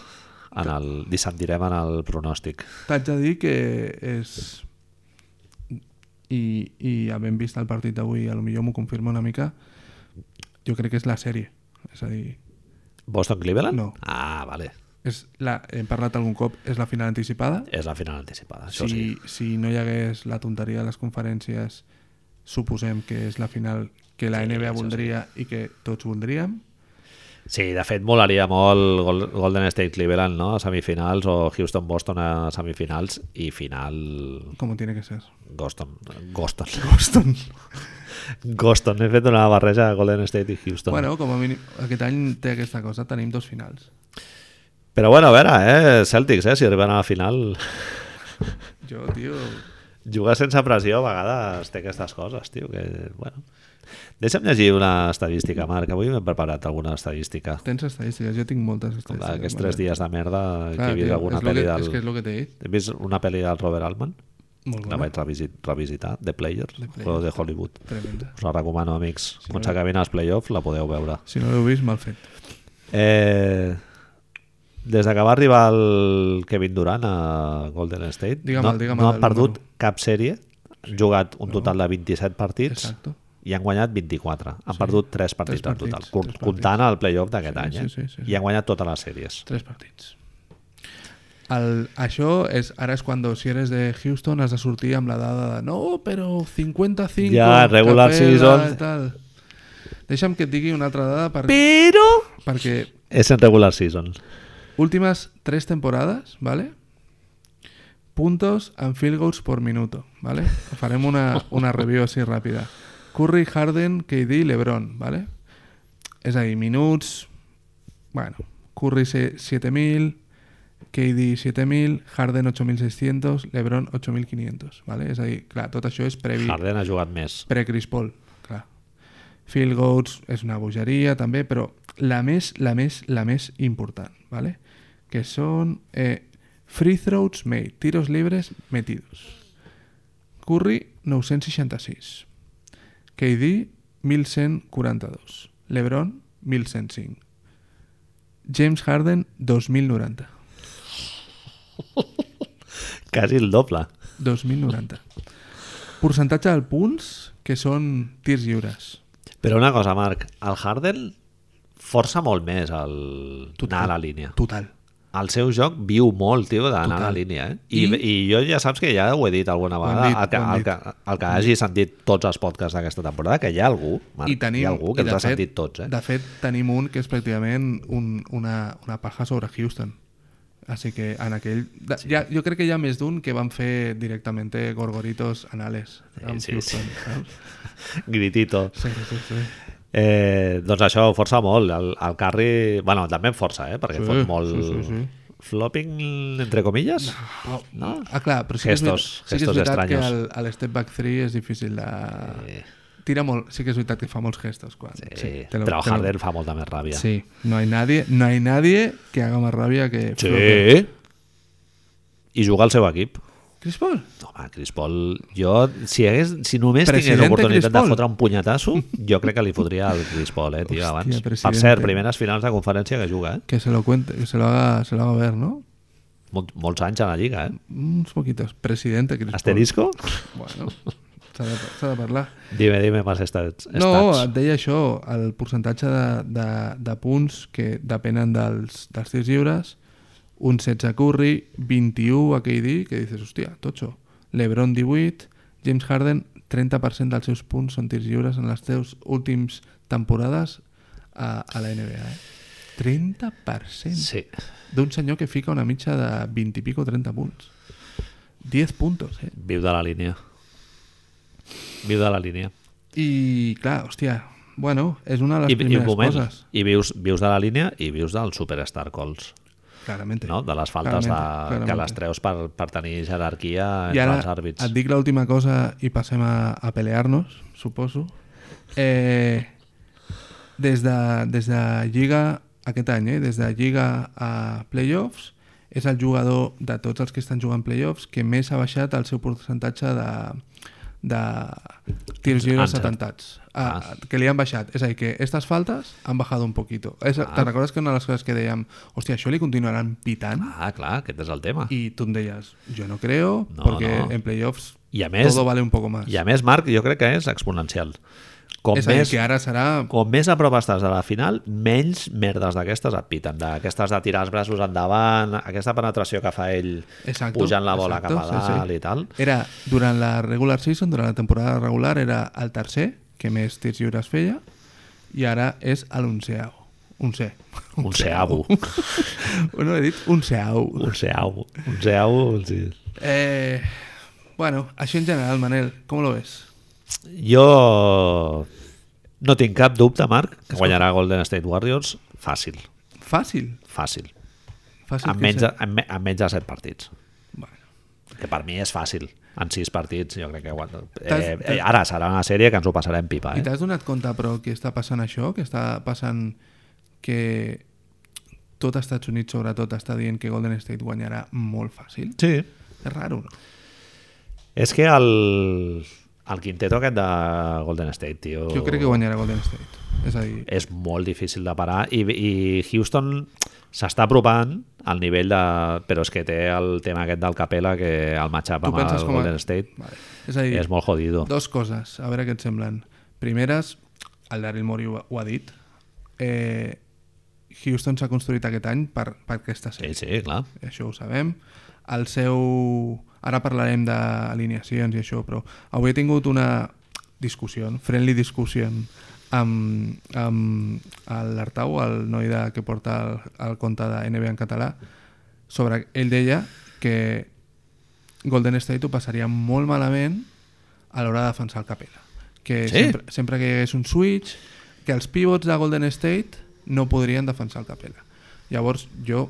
A: en el dissentirem en el pronòstic.
B: T'haig de dir que és... I, i havent vist el partit d'avui, a lo millor m'ho confirma una mica, jo crec que és la sèrie. És a dir,
A: Boston Cleveland?
B: No.
A: Ah, vale.
B: és la, hem parlat algun cop, és la final anticipada.
A: És la final anticipada, això
B: Si,
A: sí.
B: si no hi hagués la tonteria de les conferències, suposem que és la final que la NBA voldria i que tots voldríem.
A: sí. Sí, de fet, molaria molt Gol- Golden State Cleveland no? a semifinals o Houston-Boston a semifinals i final
B: Como tiene que ser.
A: Boston. Boston.
B: Boston.
A: Boston. He fet una barreja de Golden State i Houston.
B: Bueno, com a mínim, aquest any té aquesta cosa, tenim dos finals.
A: Però bueno, a veure, eh? Celtics, eh? si arriben a la final...
B: Jo, tio...
A: Jugar sense pressió a vegades té aquestes coses, tio, que, bueno... Deixa'm llegir una estadística, Marc. Avui m'he preparat alguna estadística.
B: Tens estadístiques, jo tinc moltes estadístiques.
A: Aquests tres
B: Manuel.
A: dies de merda que
B: Clar,
A: he vist
B: tio,
A: alguna
B: és lo que-
A: pel·li del...
B: És que és el que t'he dit.
A: He vist una pel·li del Robert Altman,
B: Molt
A: la
B: bona.
A: vaig revisit, revisitar, The Players,
B: The Players.
A: Players. de Hollywood.
B: Tremenda.
A: Us la recomano, amics.
B: Sí,
A: Quan
B: no?
A: s'acabin els play-offs la podeu veure.
B: Si no l'heu vist, mal fet.
A: Eh, des de que va arribar el Kevin Durant a Golden State,
B: Digue'm
A: no,
B: el- digue'm
A: no
B: el
A: han perdut
B: número.
A: cap sèrie, han jugat un total de 27 partits
B: Exacto.
A: i han guanyat 24. Han perdut 3 partits,
B: Tres
A: en total,
B: partits,
A: cor-
B: tres
A: comptant el play-off d'aquest
B: Sí,
A: any. eh?
B: sí, sí, sí, sí.
A: I han guanyat totes les sèries.
B: Tres partits. El, això és, ara és quan si eres de Houston has de sortir amb la dada de no, però 55
A: Ja, regular
B: capella,
A: season.
B: tal. Deixa'm que et digui una altra dada per,
A: Però...
B: perquè
A: És en regular season.
B: últimes tres temporadas, ¿vale? Puntos and field goals por minuto, ¿vale? Faremos una, una review así rápida. Curry, Harden, KD, LeBron, ¿vale? Es ahí, minutos. Bueno, Curry se- 7000, KD 7000, Harden 8600, LeBron 8500, ¿vale? Es ahí, claro, todo eso es previo.
A: Harden ha jugat més.
B: Pre-Chris Paul, clar. Field goals és una bogeria també, però la més, la més, la més important, ¿vale? que són eh, free throws made, tiros libres metidos. Curry, 966. KD, 1142. LeBron, 1105. James Harden, 2090.
A: Quasi el doble.
B: 2090. Percentatge del punts, que són tirs lliures.
A: Però una cosa, Marc, el Harden força molt més el...
B: Total.
A: anar a la línia.
B: Total.
A: El seu joc viu molt, tio, d'anar a la
B: Total.
A: línia. Eh? I, I, jo ja saps que ja ho he dit alguna
B: Ho hem
A: vegada,
B: dit,
A: el, que,
B: ho hem
A: el, que, el que hagi sentit tots els podcasts d'aquesta temporada, que hi ha algú, Marc,
B: I tenim,
A: hi ha algú que
B: i de
A: els ha
B: fet-
A: sentit tots. Eh?
B: De fet, tenim un que és pràcticament un, una, una paja sobre Houston. Així que en aquell... De, sí. ha, jo crec que hi ha més d'un que van fer directament gorgoritos anales amb
A: sí,
B: sí, Houston.
A: sí.
B: saps?
A: Gritito.
B: Sí, sí, sí. sí.
A: Eh, doncs això força molt. El, el Carri... bueno, també em força, eh? perquè
B: Sí,
A: fot molt...
B: sí, sí, sí.
A: Flopping, entre comilles? No.
B: Ah, clar, però sí
A: Gestos-
B: que és, veri- sí que és
A: gestos
B: veritat que el,
A: estranyos.
B: el step back 3 és difícil de...
A: Eh,
B: Tira molt, sí que és veritat que fa molts gestos. Quan, sí, te lo-
A: però
B: te
A: Eh,
B: lo-
A: Harden fa molta més ràbia.
B: Sí, no hay nadie, no hay nadie que haga más rabia que Floppy.
A: Sí. I jugar al seu equip.
B: Chris Paul.
A: Home, Chris Paul, jo, si, hagués, si només tingués
B: Presidente
A: l'oportunitat
B: Chris
A: de
B: Paul.
A: fotre un punyetasso, jo crec que li fotria el Chris Paul, eh, tio,
B: Hòstia,
A: abans. Per
B: presidente.
A: cert, primeres finals de conferència que juga, eh?
B: Que se lo cuente, que se lo haga, se lo haga ver, ¿no?
A: Mol, molts anys a la Lliga, eh?
B: Unos poquitos. Presidente Chris Paul.
A: Asterisco?
B: Bueno, s'ha de, s'ha de parlar.
A: Dime, dime más estats.
B: No, eh,
A: estats.
B: et deia això, el percentatge de, de, de punts que depenen dels, dels tirs lliures, un 16 a Curry, 21 a KD, que dices, hòstia, totxo. LeBron 18, James Harden, 30% dels seus punts són tirs lliures en les teus últims temporades a, a la NBA. Eh? 30%.
A: Sí.
B: d'un senyor que fica una mitja de 20 i pico, 30 punts. 10 puntos, eh?
A: Viu de la línia. Viu de la línia.
B: I, clar, hòstia, bueno, és una de les
A: I,
B: I,
A: i, un
B: primeres
A: moment,
B: coses.
A: i vius, vius de la línia i vius del Superstar Calls,
B: Clarament.
A: no? de les faltes de,
B: Claramente, claramente.
A: que les treus per, per tenir jerarquia
B: I
A: entre
B: ara
A: els àrbits.
B: et dic l'última cosa i passem a, a pelear-nos, suposo. Eh, des, de, des de Lliga aquest any, eh? des de Lliga a playoffs, és el jugador de tots els que estan jugant playoffs que més ha baixat el seu percentatge de, de tirs lliures
A: Encert.
B: atentats. Ah, que li han baixat. És a dir, que aquestes faltes han baixat un poquito. És, ah. Te'n recordes que una de les coses que dèiem hòstia, això li continuaran pitant?
A: Ah, clar, aquest és el tema. I,
B: Y tú en ellas, yo no creo,
A: No,
B: porque
A: no.
B: en playoffs
A: I a més-
B: todo vale un poco más.
A: I a més, Marc, jo crec que és exponencial. Com
B: es a dir,
A: més,
B: que ahora será
A: com més a prop estàs de la final, menys merdes d'aquestes et piten. D'aquestes de tirar els braços endavant, aquesta penetració que fa ell
B: Exacto,
A: pujant la bola
B: exacto,
A: cap a
B: sí, sí.
A: dalt i tal.
B: Era, durant la regular season, durant la temporada regular, era el tercer que més tirs lliures feia i ara és l'onceau. Un C.
A: Un ceau.
B: No he dit un ceau.
A: Un ceau. Un ceau. Sí.
B: Eh, bueno, això en general, Manel, com lo ves?
A: Jo no tinc cap dubte, Marc, que guanyarà Golden State Warriors fàcil,
B: Fàcil.
A: fàcil.
B: Fàcil
A: En
B: que
A: menys, de,
B: ser.
A: en, me- en menys de 7 partits.
B: Bueno,
A: Que per mi és fàcil. En 6 partits, jo crec que... guan-
B: T'has-
A: Eh, eh, ara serà una sèrie que ens ho passarem pipa,
B: I
A: eh?
B: t'has donat compte, però, que està passant això? Que està passant que tot Estats Units, sobretot, està dient que Golden State guanyarà molt fàcil?
A: Sí.
B: És raro, no?
A: És que el, el quinteto aquest de Golden State, tio...
B: Jo crec que guanyarà Golden State. És a dir,
A: és molt difícil de parar i, i Houston s'està apropant al nivell de... però és que té el tema aquest del Capella que el matchup
B: tu
A: amb
B: penses
A: el
B: com a...
A: Golden State
B: Vale. És a dir,
A: és molt jodido
B: Dos coses, a veure què et semblen. Primeres, el Daryl Morey ho, ho ha dit, eh, Houston s'ha construït aquest any per, per aquesta
A: sí,
B: sèrie.
A: sí, clar
B: Sí. Això ho sabem. El seu... Ara parlarem d'alineacions i això, però avui he tingut una discussió, friendly discussió amb, amb l'Artau, el noi de, que porta el, el compte de NBA en català, sobre... Ell deia que Golden State ho passaria molt malament a l'hora de defensar el Capella. Que
A: Sí?
B: sí? sempre, sempre que hi hagués un switch, que els pivots de Golden State no podrien defensar el Capella. Llavors, jo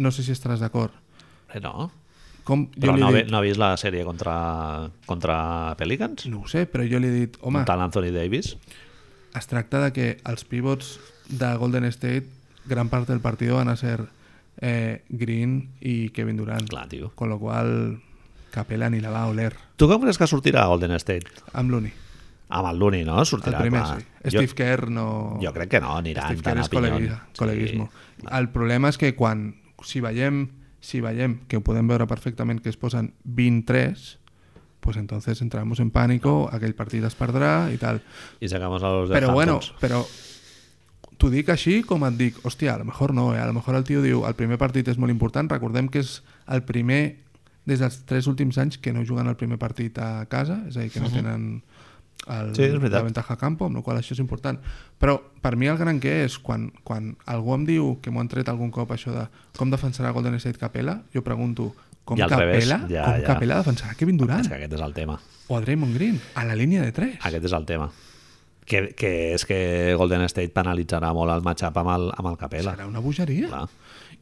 B: no sé si estaràs d'acord.
A: Eh, no,
B: Com
A: però
B: jo li
A: no,
B: he
A: ve-
B: dit,
A: no ha vist la sèrie contra, contra Pelicans?
B: no ho sé, però jo li he dit, home,
A: Un tal Anthony Davis?
B: es tracta de que els pivots de Golden State, gran part del partit van a ser eh, Green i Kevin Durant.
A: Clar, tio.
B: Con lo cual, Capella ni la va a oler.
A: Tu com creus que sortirà Golden State?
B: Amb l'Uni.
A: Amb el Looney, no?
B: El
A: Sortirà,
B: primer,
A: clar.
B: sí. Steve Kerr no...
A: jo, jo crec que no, anirà
B: Steve
A: en tant
B: Kerr
A: a
B: és col·legui- col·leguisme. El problema és que quan, si veiem, si veiem, que ho podem veure perfectament, que es posen 23, pues entonces entramos en pánico, aquell partit es perdrà i tal.
A: I sacamos a los de
B: Però bueno, però t'ho dic així com et dic, hòstia, a lo mejor no, eh? a lo mejor el tio diu el primer partit és molt important, recordem que és el primer des dels tres últims anys que no juguen el primer partit a casa, és a dir, que no tenen el,
A: Sí, és veritat.
B: la ventaja a campo, amb la qual cosa això és important. Però per mi el gran que és, quan, quan algú em diu que m'ho han tret algun cop això de com defensarà Golden State Capella, jo pregunto, com
A: I al revés,
B: Capella,
A: ja,
B: com
A: ja.
B: Capella defensarà Kevin Durant
A: És que aquest és el tema.
B: o a Draymond Green a la línia de 3?
A: Aquest és el tema. Que, que és que Golden State penalitzarà molt el matchup amb el, amb el Capella.
B: Serà una bogeria.
A: Clar.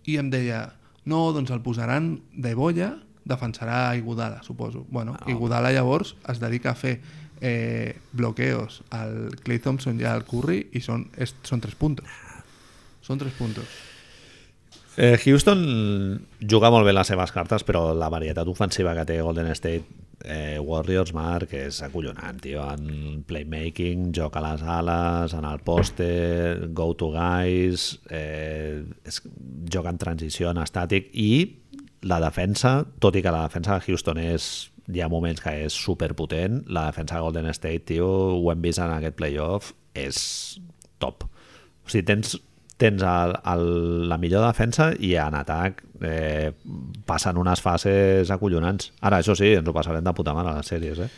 B: I em deia, no, doncs el posaran de bolla, defensarà a Iguodala, suposo. Bueno, no. Iguodala llavors es dedica a fer eh, bloqueos al Clay Thompson i al Curry i són, és, són tres puntos. Són tres puntos.
A: Eh, Houston juga molt bé les seves cartes, però la varietat ofensiva que té Golden State eh, Warriors, Marc, és acollonant, tio. En playmaking, joc a les ales, en el poste, go to guys, eh, és, joc en transició, en estàtic, i la defensa, tot i que la defensa de Houston és hi ha moments que és superpotent, la defensa de Golden State, tio, ho hem vist en aquest playoff, és top. O sigui, tens, tens el, el, la millor defensa i en atac eh, passen unes fases acollonants. Ara, això sí, ens ho passarem de puta mare a les sèries, eh?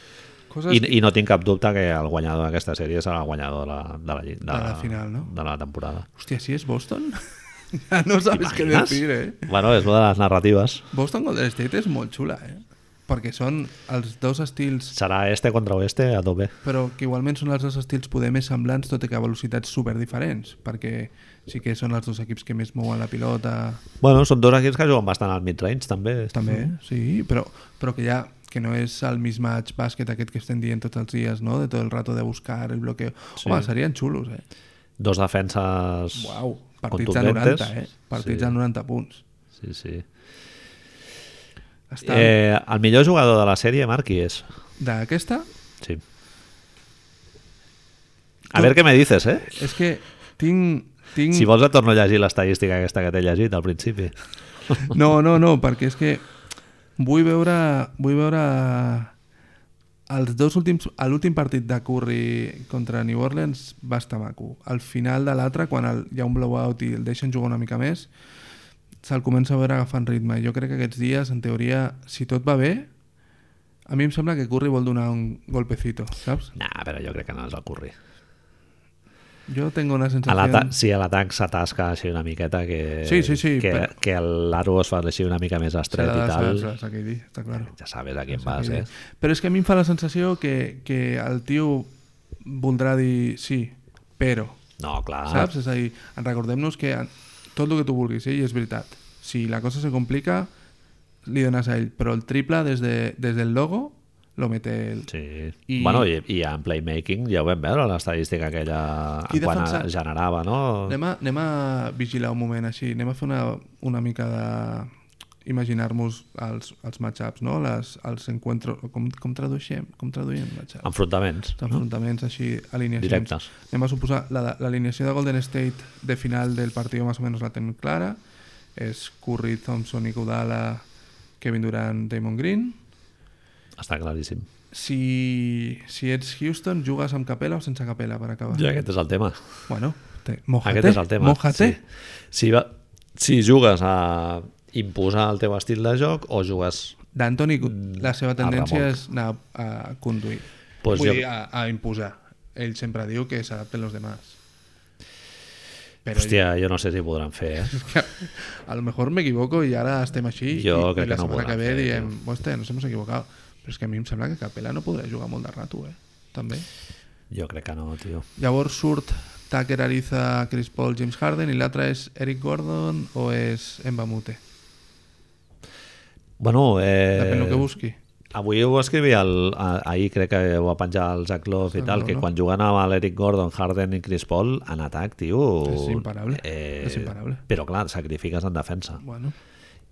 B: Coses
A: I, I no tinc cap dubte que el guanyador d'aquesta sèrie serà el guanyador de la, de la, lli-
B: De la final, no?
A: De la temporada.
B: Hòstia, si és Boston? ja no sabes què
A: Imagines?
B: dir, eh?
A: Bueno, és una de les narratives.
B: Boston Golden State és molt xula, eh? Perquè són els dos estils
A: Serà este contra oeste a tope.
B: però que igualment són els dos estils poder més semblants, tot i que a velocitats super diferents, perquè sí que són els dos equips que més mouen la pilota,
A: Bueno, són dos equips que juguen bastant al mid-range, també.
B: també, sí, però, però que ja que no és el mismatch bàsquet aquest que estem dient tots els dies, no? De tot el rato de buscar el bloqueo. Sí. Home, serien xulos, eh?
A: Dos defenses...
B: Uau, partits a
A: contundentes.
B: 90, eh? Partits sí. a 90 punts.
A: Sí, sí.
B: Està eh...
A: Eh, el millor jugador de la sèrie, Marc, qui és?
B: d'aquesta,
A: Sí. A veure què me dices, eh?
B: és que tinc... tinc...
A: Si vols et torno a llegir l'estadística aquesta que t'he llegit al principi.
B: No, no, no, perquè és que vull veure, vull veure els dos últims, a l'últim partit de Curry contra New Orleans va estar maco. Al final de l'altre, quan el, hi ha un blowout i el deixen jugar una mica més, se'l comença a veure agafant ritme. Jo crec que aquests dies, en teoria, si tot va bé, a mi em sembla que Curry vol donar un golpecito, saps?
A: Nah, però jo crec que no és el Curry.
B: Jo tengo una
A: A
B: sensació...
A: l'ata- sí, a l'atac s'atasca així una miqueta que,
B: Sí, sí, sí,
A: que,
B: però-
A: que l'aro es fa així una mica més
B: Serà
A: estret i
B: de
A: tal.
B: Sarasate, Sakiri, està clar.
A: Ja sabes a quién vas, eh?
B: Però és que a mi em fa la sensació que, que el tio voldrà dir sí, però,
A: No, clar.
B: saps? És a dir, recordem-nos que en- tot el que tu vulguis, eh, i és veritat, si la cosa se complica, li dones a ell, però el triple des, de, des del logo lo mete el...
A: Sí. I...
B: I-
A: Bueno, i, i en playmaking ja ho vam veure, l'estadística aquella
B: I
A: en quan a,
B: defensar.
A: generava, no?
B: Anem a, anem a vigilar un moment així, anem a fer una, una mica de imaginar-nos els, els matchups, no? Les, els encuentros, com, com traduixem, com traduïm matchups?
A: Enfrontaments.
B: Els enfrontaments així, alineacions.
A: Directes.
B: Anem a suposar la de- l'alineació de Golden State de final del partit més o menys la tenim clara. És Curry, Thompson, Iguodala, Kevin Durant, Damon Green.
A: Està claríssim.
B: Si, si ets Houston, jugues amb capela o sense capela per acabar?
A: I aquest és el tema.
B: Bueno, te, mojate,
A: Aquest és el tema.
B: Mojate.
A: Sí. Si, va, si jugues a imposar el teu estil de joc o jugues...
B: D'Antoni, la seva tendència
A: remolc.
B: és anar a conduir.
A: Mm, Pues
B: Vull
A: jo-
B: dir, a, a imposar. Ell sempre diu que s'adapten els demás. Però
A: Hòstia, jo no sé si ho podran fer, eh?
B: Que a lo mejor me equivoco y ahora estem així
A: Jo
B: i,
A: crec
B: i la
A: que no
B: setmana
A: podrà
B: que ve
A: fer,
B: diem hòstia, nos hemos equivocado però és que a mi em sembla que Capela no podrà jugar molt de rato eh? també
A: Jo crec que no, tio.
B: llavors surt Tucker Ariza, Chris Paul, James Harden i l'altre és Eric Gordon o és Embamute
A: Bueno,
B: depèn
A: eh,
B: del que busqui
A: avui ho va escriure el, a, ahir crec que ho va penjar el Zach Love i
B: Zach
A: tal,
B: Love,
A: que
B: no?
A: quan juguen amb l'Eric Gordon, Harden i Chris Paul en atac, tio... eh,
B: És imparable, és imparable.
A: Però clar, et sacrifiques en defensa.
B: bueno,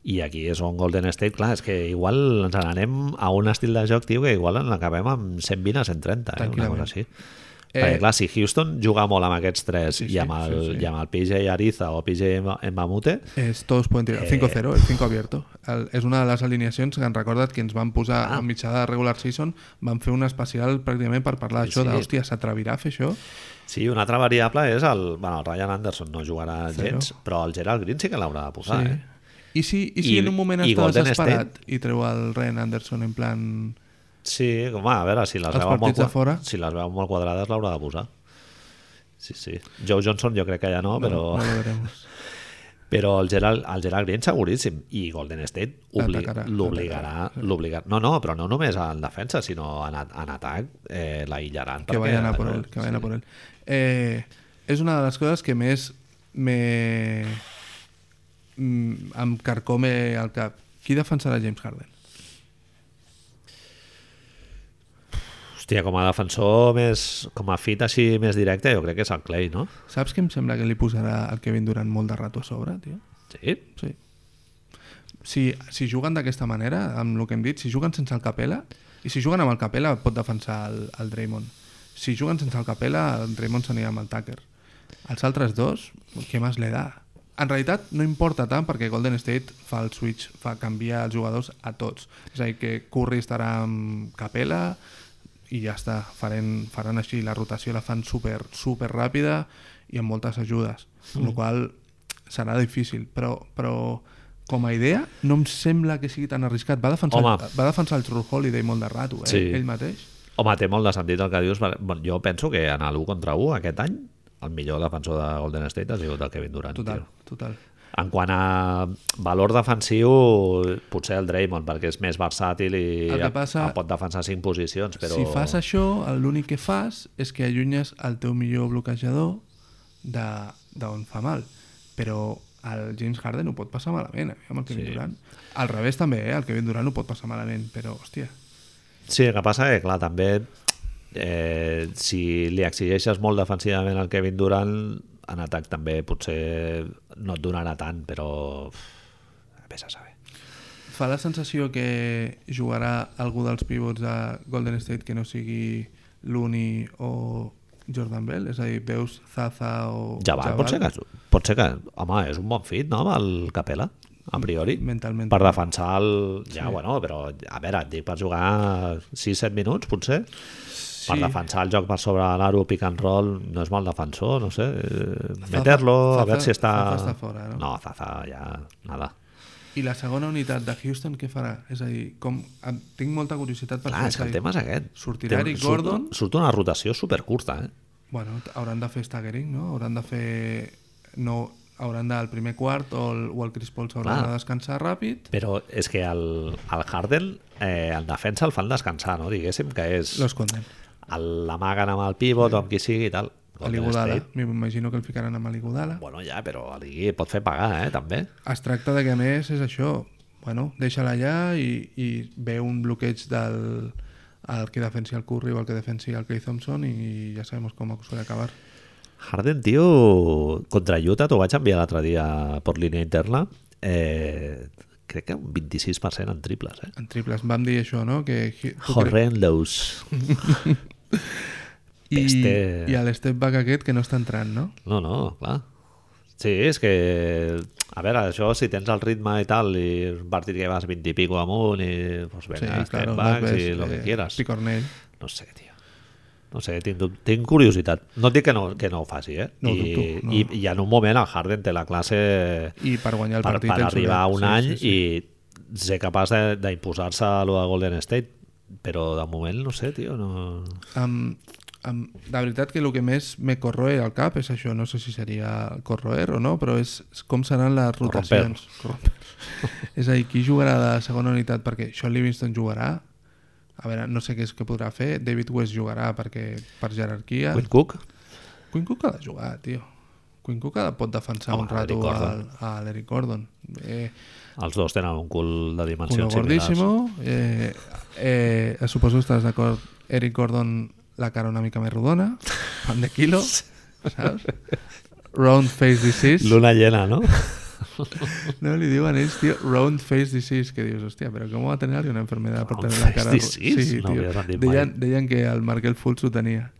A: I aquí és on Golden State, clar, és que igual ens n'anem a un estil de joc, tio, que igual en acabem amb 120 a 130, eh? una
B: Tranquil·lament.
A: cosa així.
B: Eh,
A: Eh... Perquè, clar, si Houston juga molt amb aquests tres sí,
B: Sí, sí,
A: i, amb el,
B: sí, sí.
A: i amb el PJ Ariza o PJ Mbamute,
B: és, todos pueden
A: Eh.
B: tirar 5-0, el 5 abierto el, és una de les alineacions que han recordat que ens van posar
A: Ah.
B: a mitjà de regular season van fer un especial pràcticament per parlar d'això,
A: sí.
B: de hòstia, s'atrevirà a fer això?
A: sí, una altra variable és el... Bueno, el Ryan Anderson no jugarà
B: Zero.
A: gens, però el Gerald Green sí que l'haurà de posar, sí.
B: Sí.
A: eh?
B: I si, i si
A: I-
B: en un moment
A: i
B: està
A: Golden
B: desesperat i treu el Ren Anderson en plan...
A: Sí, home, a veure, si les,
B: Els
A: veu molt,
B: partits de
A: qua-
B: fora.
A: si les veu molt quadrades l'haurà de posar. Sí, sí. Joe Johnson jo crec que ja no, però...
B: No, no lo veremos.
A: Però el Gerald, el Gerald Green seguríssim i Golden State obli-
B: L'atacarà,
A: l'obligarà l'obligarà. No, no, però no només en defensa, sinó en, a- en atac eh, l'aïllaran.
B: Que
A: perquè,
B: vayan a por
A: no,
B: él, que vayan a por él. Eh, és una de les coses que més me... mm, em carcome al cap. Qui defensarà James Harden?
A: Hòstia, com a defensor més... Com a fit així més directe, jo crec que és el Clay, no?
B: Saps que em sembla que li posarà el Kevin Durant molt de rato a sobre, tio?
A: Sí?
B: Sí. Si, si juguen d'aquesta manera, amb el que hem dit, si juguen sense el Capela, i si juguen amb el Capela pot defensar el, el Draymond. Si juguen sense el Capela, el Draymond s'anirà amb el Tucker. Els altres dos, què més li da? En realitat no importa tant perquè Golden State fa el switch, fa canviar els jugadors a tots. És a dir, que Curry estarà amb Capela i ja està, faran, faran així, la rotació la fan super, super ràpida i amb moltes ajudes, amb
A: Mm.
B: la qual cosa serà difícil, però, però com a idea no em sembla que sigui tan arriscat. Va defensar,
A: Home.
B: va defensar el True Holiday molt de rato, eh?
A: Sí.
B: ell mateix.
A: Home, té molt de sentit el que dius. perquè, Bon, jo penso que en l'1 contra 1 aquest any el millor defensor de Golden State ha sigut el Kevin Durant.
B: Total,
A: Tio.
B: total.
A: En quant a valor defensiu, potser el Draymond, perquè és més versàtil i
B: El que passa-
A: pot defensar cinc posicions, però...
B: Si fas això, l'únic que fas és que allunyes el teu millor bloquejador de- d'on fa mal. Però el James Harden ho pot passar malament, eh, amb el Kevin
A: Sí.
B: Durant. Al revés també, eh? el Kevin Durant ho pot passar malament, però, hòstia,
A: Sí, el que passa que, clar, també eh, si li exigeixes molt defensivament al Kevin Durant, en atac també potser no et donarà tant, però uf, vés a saber.
B: fa la sensació que jugarà algú dels pivots de Golden State que no sigui Looney o Jordan Bell? És a dir, veus Zaza o
A: Jabal, pot ser, que, pot ser que, home, és un bon fit, no?, amb el Capela, a priori.
B: Mm, Mentalment.
A: Per defensar el... Ja, sí. bueno, però, a veure, et dic, per jugar 6-7 minuts, potser? Sí. Per defensar el joc per sobre l'aro, pick and roll, no és mal defensor, no sé. eh, Meter-lo, a
B: Zaza-
A: veure si està...
B: Zaza està fora, no?
A: No, Zaza, ja, nada.
B: I la segona unitat de Houston què farà? És a dir, com... em- Tinc molta curiositat per
A: Clar,
B: saber,
A: és que el
B: és a dir,
A: tema és aquest.
B: sortirà
A: Té un-
B: Eric
A: surt-
B: Gordon?
A: Surt una rotació supercurta, eh?
B: Bueno, hauran de fer staggering, no? Hauran de fer... No, hauran del primer quart o el, o el Chris Paul s'haurà
A: Clar.
B: de descansar ràpid.
A: Però és que el, el Harden, eh, el defensa el fan descansar, no? Diguéssim que és...
B: Los conden.
A: el- L'amaguen amb el pivot o amb qui sigui i tal.
B: A l'Iguodala. M'imagino que el ficaran amb l'Iguodala.
A: Bueno, ja, però a l'Igui pot fer pagar, eh, també.
B: Es tracta de que, a més, és això. Bueno, deixa-la allà i, i ve un bloqueig del el que defensi el Curry o el que defensi el Clay Thompson i ja sabem com suele acabar.
A: Harden, tio, contra Utah t'ho vaig enviar l'altre dia per línia interna. Eh, crec que un 26% en triples, eh?
B: En triples vam dir això, no? Que, que
A: Horrendous.
B: I,
A: Peste.
B: i el step back aquest que no està entrant, no?
A: No, no, clar. Sí, és que... A veure, això, si tens el ritme i tal, i és un partit que vas 20 i pico amunt, i doncs, pues venga, sí, claro,
B: les
A: backs
B: ves,
A: i lo que
B: eh,
A: quieras.
B: Picornell.
A: No sé, tio. No sé, tinc, dub- tinc curiositat. No et dic que no, que no ho faci, eh?
B: No ho
A: I,
B: dubto, no.
A: i, I en un moment el Harden té la classe
B: I per guanyar el
A: per,
B: partit...
A: per
B: ens
A: arribar a
B: haurà-
A: un
B: sí,
A: any
B: sí, sí.
A: i ser capaç de- d'imposar-se a lo de Golden State. Però de moment, no sé, tio, no...
B: Em- em- la veritat que el que més me corroe al cap és això, no sé si seria corroer o no, però és, és com seran les
A: Corromper.
B: rotacions. Corromper. és a dir, qui jugarà de segona unitat? Perquè Sean Livingston jugarà, a veure, no sé què és que podrà fer, David West jugarà perquè per jerarquia...
A: Quinn Cook?
B: Quinn Cook ha de jugar, tio. Quinn Cook ha de, pot defensar
A: Home,
B: un rato
A: l'Eric Gordon.
B: al- a l'Eric Gordon. Eh,
A: Els dos tenen un cul de
B: Uno
A: dimensions similars.
B: gordíssimo. Eh, eh, suposo que estàs d'acord. Eric Gordon, la cara una mica més rodona, pan de quilo, saps? Round face disease.
A: L'una llena, no?
B: No li diuen ells, tio, round face disease, que dius, hòstia, però com va tenir alguien una enfermedad per
A: Round
B: tenir la
A: face
B: cara...
A: disease?
B: Sí,
A: No
B: tio.
A: havia sentit mai.
B: deien, deien que el Markel Fultz ho tenia.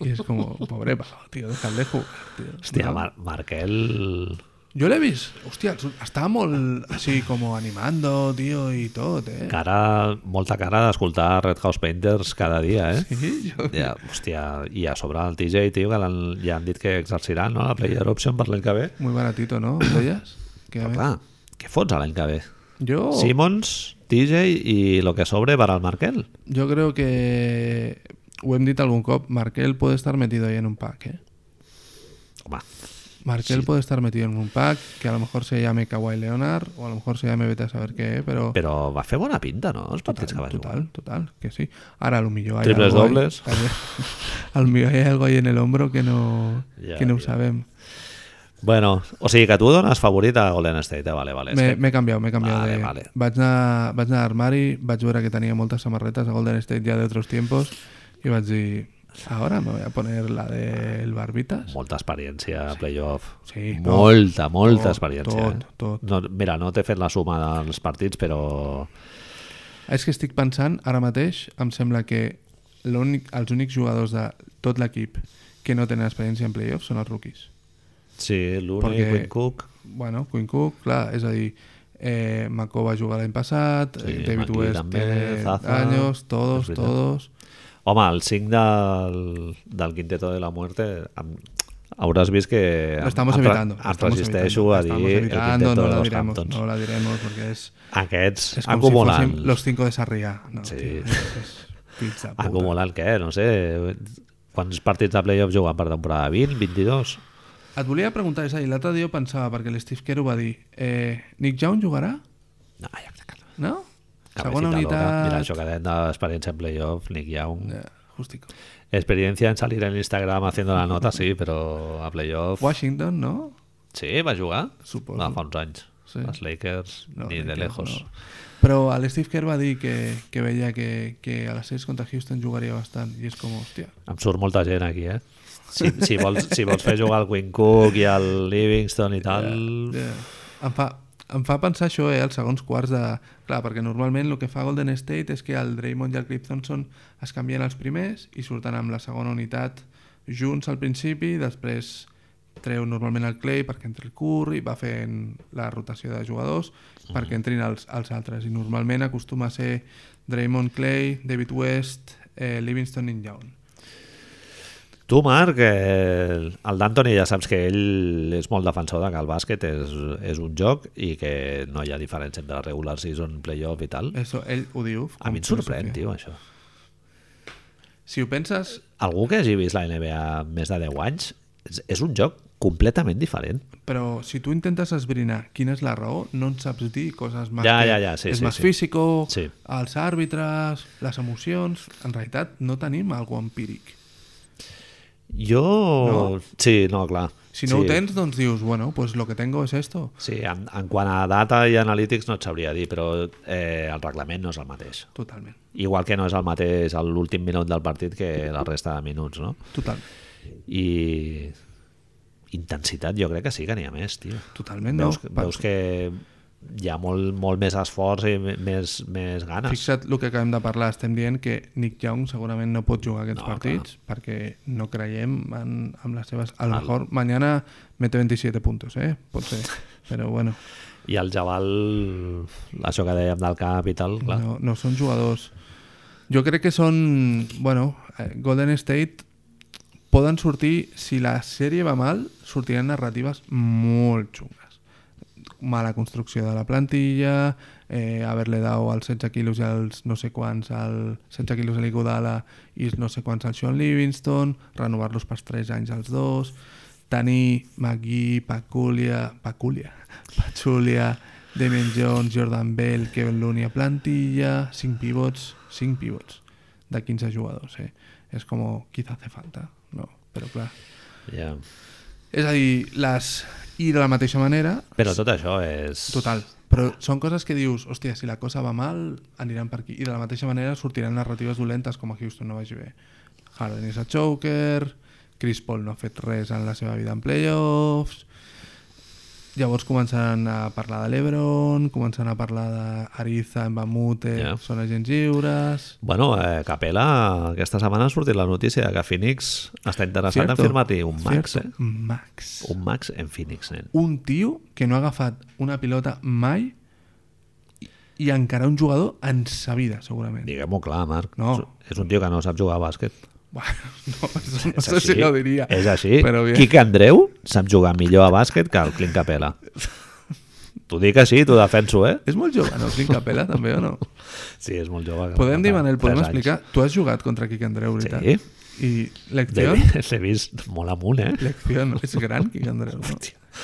B: I és com, pobre, pavo, tio, deixa'l de jugar, tio.
A: Hòstia,
B: No?
A: Mar Markel...
B: Jo l'he vist, hòstia, estava molt així com animando, tio, i tot, eh?
A: Cara, molta cara d'escoltar Red House Painters cada dia, eh?
B: Sí, jo...
A: Ja, hòstia, i a sobre el TJ, tio, que l'han ja han dit que exercirà no? la player option per l'any que ve.
B: Muy baratito, ¿no? ¿Ellas? Que a
A: Però
B: ver.
A: clar, què fots a l'any que ve?
B: Yo,
A: Simons, TJ i lo que sobre per al Markel.
B: yo creo que Wemdit algún cop, Markel puede estar metido ahí en un pack, ¿eh?
A: Home,
B: Markel puede estar metido en un pack que a lo mejor se llame Kawhi Leonard o a lo mejor se llame vete a saber qué, pero
A: però va fer bona pinta, no? Els partits que va jugar.
B: total, total, que sí. Ahora lo humilló hay
A: Triples
B: algo ahí-
A: dobles.
B: hay- Al mío hay algo ahí en el hombro que no
A: Ya,
B: que no
A: ya.
B: sabemos.
A: Bueno, o sigui que tu dones favorit a Golden State, eh? vale, vale. és
B: Me,
A: que-
B: me he canviat, m'he canviat.
A: Vale,
B: de...
A: vale.
B: Vaig, anar, vaig anar a l'armari, vaig veure que tenia moltes samarretes a Golden State ja d'altres tiempos i vaig dir, ahora me voy a poner la del Barbitas.
A: Molta experiència a playoff.
B: Sí, no.
A: molta, molta
B: Tot,
A: experiència. eh?
B: tot, tot.
A: No, mira, no t'he fet la suma dels partits, però...
B: És que estic pensant, ara mateix, em sembla que l'únic- els únics jugadors de tot l'equip que no tenen experiència en playoffs són els rookies.
A: Sí, l'Uni,
B: Perquè-
A: Quinn Cook...
B: Bueno, Quinn Cook, clar, és a dir, eh, Mako va jugar l'any passat,
A: Sí,
B: eh, David
A: Maki
B: West
A: també,
B: tiene
A: Zaza,
B: años, todos,
A: és veritat.
B: todos...
A: Home, el 5 del, del Quinteto de la Muerte em, hauràs vist que
B: Lo estamos
A: em, em-
B: evitando. lo
A: em
B: estamos
A: resisteixo
B: evitando,
A: a
B: lo
A: dir el
B: estamos evitando,
A: Quinteto
B: no
A: de
B: la
A: los
B: diremos,
A: Hamptons.
B: No la diremos porque es,
A: Aquests
B: es como si
A: acumulant,
B: fuesen los cinco de Sarriá. No,
A: Sí.
B: tío, es- es pizza puta.
A: acumulant què? No sé, quants partits de playoff juguen per temporada? 20, 22?
B: Et volia preguntar, és a dir, l'altre dia jo pensava, perquè l'Steve Kerr ho va dir, eh, Nick Young jugarà?
A: No, ja crec que no.
B: No?
A: Cap
B: Segona
A: visita loca.
B: unitat...
A: Mira, això que dèiem d'experiència en playoff, Nick Young.
B: Eh, justico.
A: Experiencia en salir en Instagram haciendo la nota, sí, però a playoff...
B: Washington, no?
A: Sí, va jugar?
B: Suposo.
A: Va, fa uns anys.
B: Sí.
A: Els Lakers,
B: No,
A: ni de
B: Lakers,
A: lejos.
B: no. Però l'Steve Kerr va dir que, que veia que, que a les 6 contra Houston jugaria bastant i és com, hòstia,
A: Em surt molta gent aquí, eh? Si, si, vols, si vols fer jugar el Quinn Cook i el Livingston i tal...
B: Yeah. Em, fa, em fa pensar això, eh, els segons quarts de... Clar, perquè normalment el que fa Golden State és que el Draymond i el Cliff Thompson es canvien els primers i surten amb la segona unitat junts al principi, després treu normalment el Clay perquè entri el Curry, va fent la rotació de jugadors perquè entrin els, els altres. I normalment acostuma a ser Draymond Clay, David West, eh, Livingston i Young.
A: Tu, Marc, eh, el d'Anthony ja saps que ell és molt defensor de que el bàsquet és, és un joc i que no hi ha diferència entre
B: Eh,
A: regular season, playoff i tal.
B: Eso, ell ho diu.
A: A mi em sorprèn, tio, això.
B: Si ho penses,
A: Algú que hagi vist la NBA més de 10 anys, és, és un joc completament diferent.
B: Però si tu intentes esbrinar quina és la raó, no en saps dir coses més...
A: Ja,
B: que
A: ja, ja, sí,
B: és
A: sí,
B: més
A: sí.
B: físico,
A: Sí.
B: els àrbitres, les emocions... En realitat, no tenim alguna empíric.
A: Jo... No? Sí, no, clar.
B: Si no
A: sí.
B: ho tens, doncs dius, bueno, pues lo que tengo es esto.
A: Sí, en, en quant a data i analítics no et sabria dir, però eh, el reglament no és el mateix.
B: Totalment,
A: Igual que no és el mateix a l'últim minut del partit que la resta de minuts, no?
B: total,
A: I intensitat jo crec que sí que n'hi ha més, tio.
B: totalment,
A: veus,
B: no?
A: veus que hi ha molt, molt més esforç i me- més, més ganes.
B: Fixa't el que acabem de parlar, estem dient que Nick Young segurament no pot jugar aquests
A: No,
B: no, partits perquè no creiem en, en les seves... A lo mejor mañana mete 27 puntos, eh? Pot ser, però bueno,
A: I el Jabal, això que dèiem del cap i tal, clar.
B: no, no són jugadors... Jo crec que són... Bueno, eh, Golden State poden sortir, si la sèrie va mal, sortiran narratives molt xungues. Mala construcció de la plantilla, eh, haver-li dado els 16 quilos i els no sé quants, al 16 quilos a l'Iguodala i els no sé quants al Sean Livingston, renovar-los per 3 anys als dos, tenir McGee, Paculia, Paculia, Pachulia, Damien Jones, Jordan Bell, Kevin Looney a plantilla, 5 pivots, 5 pivots de 15 jugadors, eh? És com, quizá hace falta, no? Però clar.
A: Ja.
B: És a dir, les... I de la mateixa manera,
A: Però tot això és...
B: total, però són coses que dius, hòstia, si la cosa va mal, aniran per aquí. I de la mateixa manera sortiran narratives dolentes com a Houston no vagi bé. Harden és a choker, Chris Paul no ha fet res en la seva vida en playoffs, llavors començaran a parlar de l'Ebron, començaran a parlar d'Ariza, Mbamute,
A: Ja.
B: yeah. són agents lliures...
A: Bueno, eh, Capela, aquesta setmana ha sortit la notícia que Phoenix està interessat
B: Cierto,
A: en firmar-li un max,
B: cierto,
A: eh?
B: Max.
A: Un max en Phoenix, nen.
B: un tio que no ha agafat una pilota mai i- i encara un jugador en sa vida, segurament.
A: Diguem-ho clar, Marc.
B: No.
A: És un tio que no sap jugar a bàsquet.
B: Bueno, no, eso no
A: És
B: sé si ho diria.
A: És així.
B: Però bé.
A: Quique Andreu sap jugar millor a bàsquet que el Clint Capela. T'ho dic així, t'ho defenso, eh?
B: És molt jove, no? Clint Capela, també, o no?
A: Sí, és molt jove.
B: Podem dir,
A: Fa
B: Manel, podem
A: tres
B: explicar... Tu has jugat contra Quique Andreu, veritat?
A: Sí.
B: I
A: anys.
B: lecció...
A: L'he l'he vist molt amunt, eh?
B: Lecció, no? És gran, Quique Andreu, no?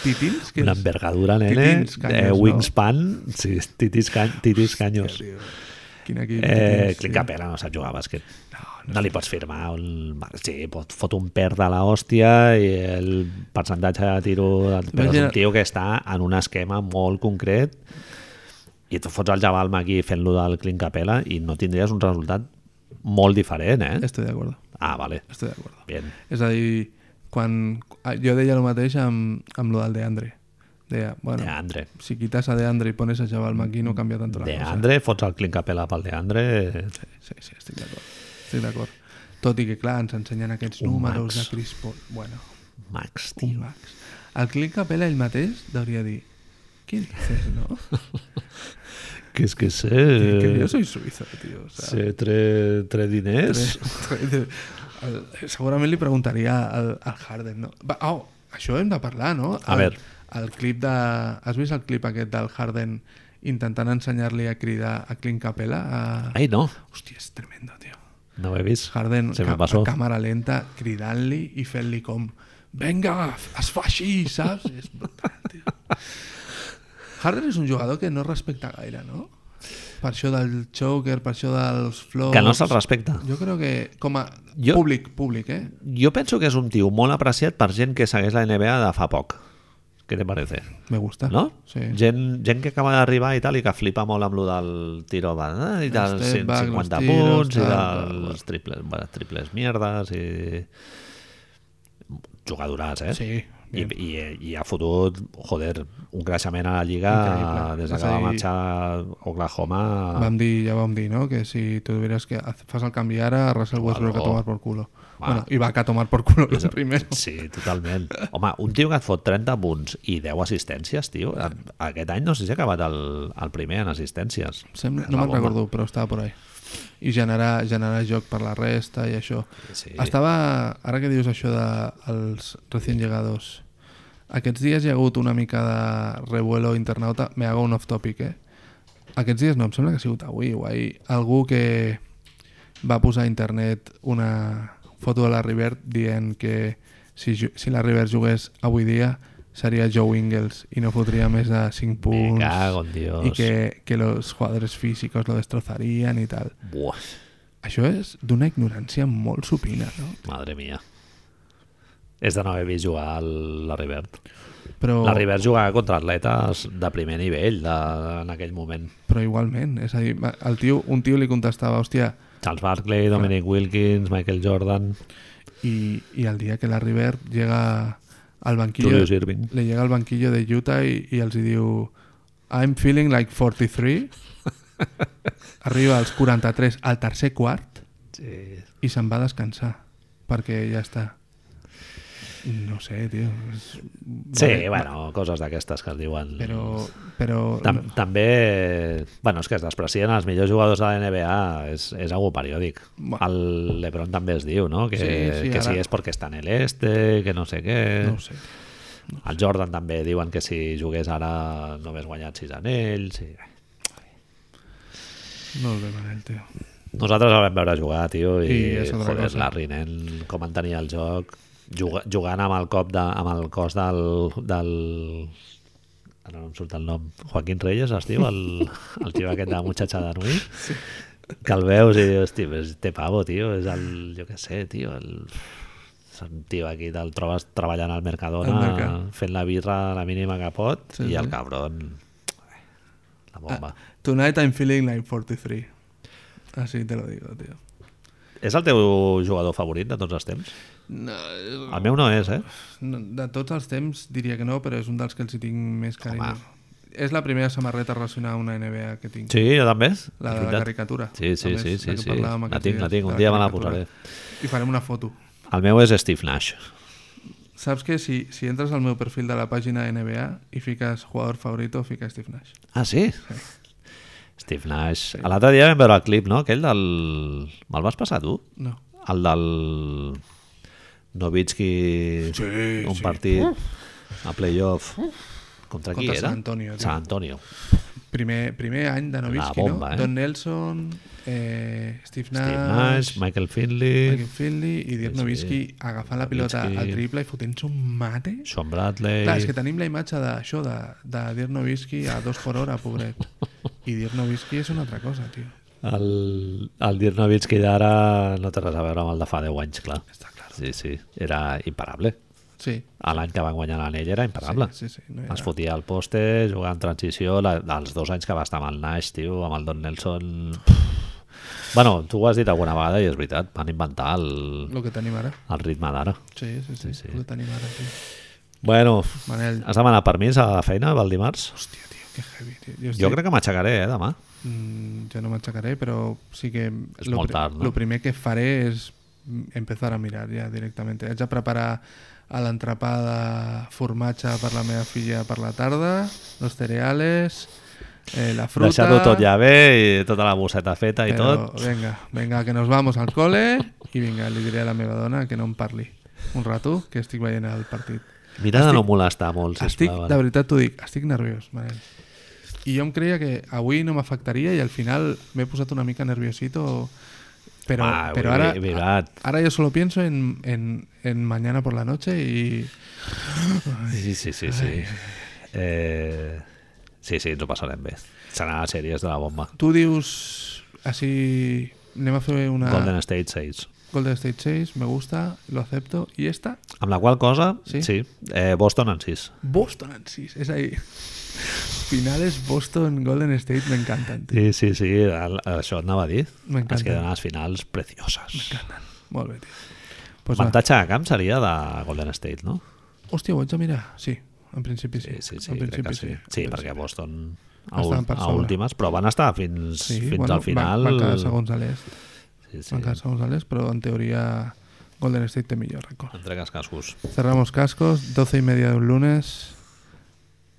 B: Titins, què
A: Una
B: és?
A: envergadura, nene.
B: Titins, canyes,
A: eh,
B: no?
A: wingspan. Sí, titis, can, titis canyos.
B: Tio, Quin equip...
A: Eh,
B: titins,
A: Clint
B: tio.
A: Capela no sap jugar a bàsquet.
B: No,
A: No li pots firmar un... Sí, pot, fot un perd de l'hòstia i el percentatge de tiro... Però és
B: Imagina-
A: un tio que està en un esquema molt concret i tu fots el Jabal aquí fent-lo del Clint Capela i no tindries un resultat molt diferent, eh?
B: Estoy de acuerdo,
A: Ah, vale.
B: estoy de acuerdo.
A: Bien.
B: És a dir, quan... ah, Jo deia el mateix amb, amb lo del Deandre. Deia, bueno,
A: De Andre.
B: si quitas a Deandre y pones a Jabal McGee no cambia tanto la
A: De
B: cosa.
A: Andre, fots el Clint Capela pel de Andre...
B: Sí, sí, estic d'acord. Estic d'acord. Tot i que, clar, ens ensenyen aquests
A: Un
B: números
A: max.
B: de Chris Paul. Bueno,
A: Max, tio.
B: un max. El Clint Capella ell mateix devia dir ¿Qué dices, no?
A: Que és que sé... eh,
B: que yo soy suizo, tío. O sea,
A: Sé tre, tre diners...
B: El- segurament li preguntaria al, al Harden, no? Va, au, això hem de parlar, no?
A: A
B: El-
A: ver.
B: El clip de... Has vist el clip aquest del Harden intentant ensenyar-li a cridar a Clint Capella? A...
A: Ai, no,
B: Hòstia, és tremendo, tio.
A: no ho he vist.
B: Harden,
A: Se me
B: ca-
A: pasó.
B: a càmera lenta, cridant-li i fent-li com venga, es fa així, saps? És brutal, tio. Harden és un jugador que no respecta gaire, no? Per això del choker, per això dels flops...
A: Que no se'l respecta.
B: Jo crec que com a
A: Jo-
B: jo... públic, públic, eh?
A: Jo penso que és un tio molt apreciat per gent que segueix la NBA de fa poc. Què te parece?
B: Me gusta.
A: No?
B: Sí.
A: Gent, gent que acaba d'arribar i tal i que flipa molt amb lo del tiro va, eh? i dels
B: step
A: 150
B: back, los tiros,
A: punts i
B: tal, tal,
A: dels triples, bueno, triples mierdes i jugadoràs, eh?
B: Sí,
A: I,
B: bien.
A: i, I ha fotut, joder, un creixement a la Lliga
B: Increïble.
A: des de
B: És
A: que
B: a
A: va
B: dir-
A: marxar a Oklahoma.
B: Vam dir, ja vam dir, no? Que si tu hubieras que haz- fas el canvi ara, Russell Westbrook a tomar por culo.
A: Va. Pues
B: Bueno, i va a tomar por culo el primer.
A: Sí, totalment. Home, un tio que et fot 30 punts i 10 assistències, tio. a- Aquest any no sé si ha acabat el, el primer en assistències.
B: Sembla,
A: És
B: no
A: la
B: me'n
A: bomba.
B: recordo, però estava por ahí. I generar, generar joc per la resta i això.
A: Sí.
B: Estava, ara que dius això dels recient llegados, aquests dies hi ha hagut una mica de revuelo internauta, me hago un off-topic, eh? Aquests dies no, em sembla que ha sigut avui o ahir, algú que, va posar a internet una foto de la River dient que si, ju- si la River jugués avui dia seria Joe Ingles i no fotria més de 5
A: Me
B: punts
A: cago en Dios.
B: i que, que los jugadores físicos lo destrozarían i tal.
A: Buah,
B: Això és d'una ignorància molt supina, no?
A: madre mia. És de no haver vist jugar el- la Rivert.
B: Però,
A: La Rivert jugava contra atletes de primer nivell de, en aquell moment.
B: però igualment, és a dir, va- el tio, un tio li contestava, hòstia,
A: Charles Barkley, Dominic Wilkins, Michael Jordan,
B: y, y al día que la River llega al banquillo
A: Julius Irving.
B: le llega al banquillo de Utah i, i els hi diu I'm feeling like 43 arriba als 43 al tercer quart
A: Sí.
B: i se'n va a descansar perquè ja està no sé, tio és-
A: Sí,
B: vale,
A: bueno, coses d'aquestes que es diuen.
B: però, però
A: Tam També, bueno, és que es desprecien els millors jugadors de la NBA, és, és algo periòdic.
B: Bueno.
A: El LeBron també es diu, no? Que,
B: Sí, sí,
A: que
B: ara-
A: si és perquè està en el este, que no sé què...
B: no ho sé
A: El Jordan també diuen que si jugués ara no hagués guanyat sis anells... I...
B: no el ve Manel, tio
A: Nosaltres el vam veure jugar, tio, i,
B: Sí, és altra
A: joder,
B: cosa.
A: Larry nen, com entenia el joc, juga, jugant amb el cop de, amb el cos del, del... Ara no em surt el nom. Joaquín Reyes es diu, el, el tio aquest de Muchacha de Nui. Sí. Que el veus i dius, tio, és té pavo, tio, és el, jo què sé, tio, el és un tio aquí te'l trobes treballant al
B: Al
A: Mercadona,
B: mercat.
A: fent la birra la mínima que pot,
B: Sí,
A: sí, i el
B: sí.
A: cabron, eh, la bomba.
B: Ah, tonight I'm feeling like 43 así te lo digo, tio
A: És el teu jugador favorit de tots els temps?
B: no,
A: El meu no és, eh?
B: No, De tots els temps diria que no, però és un dels que els hi tinc més carinyo. És la primera samarreta relacionada a una NBA que tinc.
A: Sí, jo també. és
B: La de la
A: veritat.
B: caricatura.
A: Sí, sí,
B: també és
A: sí,
B: la
A: sí,
B: que
A: sí.
B: parlàvem
A: La
B: aquests
A: tinc, la
B: dies,
A: tinc, un
B: de
A: dia me la
B: caricatura.
A: posaré.
B: I farem una foto.
A: El meu és Steve Nash.
B: Saps que si, si entres al meu perfil de la pàgina NBA i fiques jugador favorito, fica Steve Nash.
A: Ah, sí? Steve Nash. Sí. L'altre dia vam veure el clip, no? Aquell del... Me'l vas passar tu?
B: No.
A: El del... Novitski...
B: Sí,
A: un
B: sí.
A: partit a playoff. Contra qui
B: Contra
A: era?
B: San Antonio, tio.
A: San Antonio.
B: Primer, primer any de Novitski,
A: bomba,
B: no?
A: eh?
B: Don Nelson, eh, Steve Nash,
A: Steve Nash, Michael Finley,
B: Michael Finley i Dirk
A: Sí, sí.
B: Nowitzki agafant la pilota
A: Nowitzki.
B: al triple i fotent un mate.
A: Sean Bradley...
B: Clar, és que tenim la imatge d'això, de, de Dirk Nowitzki a dos per hora, pobret. I Dirk Nowitzki és una altra cosa, tio.
A: El, el Dirk Nowitzki d'ara no té res a veure amb el de fa 10 anys, clar. Està clar. Sí, sí, era imparable.
B: Sí,
A: A L'any que van guanyar l'anell era imparable.
B: sí, sí. No
A: No
B: era...
A: es fotia al poste, jugava en transició, la, els dos anys que va estar amb el Nash, tio, amb el Don Nelson... bueno, tu ho has dit alguna vegada i és veritat, van inventar el,
B: El que tenim ara.
A: el ritme d'ara.
B: Sí, sí, sí, Ah. sí, sí. el que tenim ara, tio.
A: Bueno,
B: Manel,
A: has demanat permís a la feina pel dimarts?
B: hòstia, tio, que heavy, tio. Jo, estic...
A: Jo crec que m'aixecaré, eh, demà.
B: Mm, jo no m'aixecaré, però sí que...
A: És
B: lo
A: molt
B: pri-
A: tard, no?
B: Lo primer que faré és mm, empezar a mirar ja directament. Haig de preparar a l'entrepà de formatge per la meva filla per la tarda, los cereales, eh, la fruta...
A: Deixar-ho tot ja bé i tota la bosseta feta i
B: Però,
A: tot.
B: Venga, venga, que nos vamos al cole i vinga, li diré a la meva dona que no em parli un rato, que estic veient el partit.
A: Mira de no molestar molt,
B: estic,
A: sisplau. eh. ara.
B: de veritat t'ho dic, estic nerviós, Manel. I jo em creia que avui no m'afectaria i al final m'he posat una mica nerviosito, però,
A: Ah,
B: però
A: vi-
B: ara,
A: vi- vivat.
B: ara yo solo pienso en, en, en mañana por la noche y...
A: Sí, sí, sí, sí. Eh, sí, sí, ens ho passarem bé. Serà a sèries de la bomba.
B: Tu dius, així, anem a fer una...
A: Golden State 6.
B: Golden State 6, me gusta, lo acepto, y esta...
A: Amb la qual cosa,
B: Sí?
A: sí, sí eh, Boston en 6.
B: Boston en 6, es ahí. Finales Boston, Golden State, me encantan. tío.
A: Sí, sí, sí, el, això anava a dir.
B: M'encanta.
A: Es queden les finals precioses.
B: Molt bé, tio. Pues va.
A: Avantatge de camp seria de Golden State, no?
B: Hòstia, ho haig de mirar. Sí, en principi sí.
A: Sí, sí, sí,
B: en
A: crec
B: principi
A: que sí. Sí,
B: En
A: perquè Boston a,
B: Estan
A: ul-
B: per
A: a
B: sobre.
A: últimes, però van estar fins,
B: principi.
A: fins
B: bueno,
A: al final.
B: Van, van quedar segons a l'est.
A: Sí, sí,
B: Van quedar segons a l'est, però en teoria Golden State té millor rècord.
A: entre cascascos.
B: Cerramos cascos, 12 i media d'un lunes.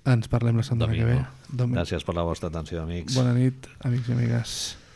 B: Ens parlem la setmana
A: Domingo.
B: que ve. Domingo.
A: Gràcies per la vostra atenció, amics.
B: Bona nit, amics i amigues.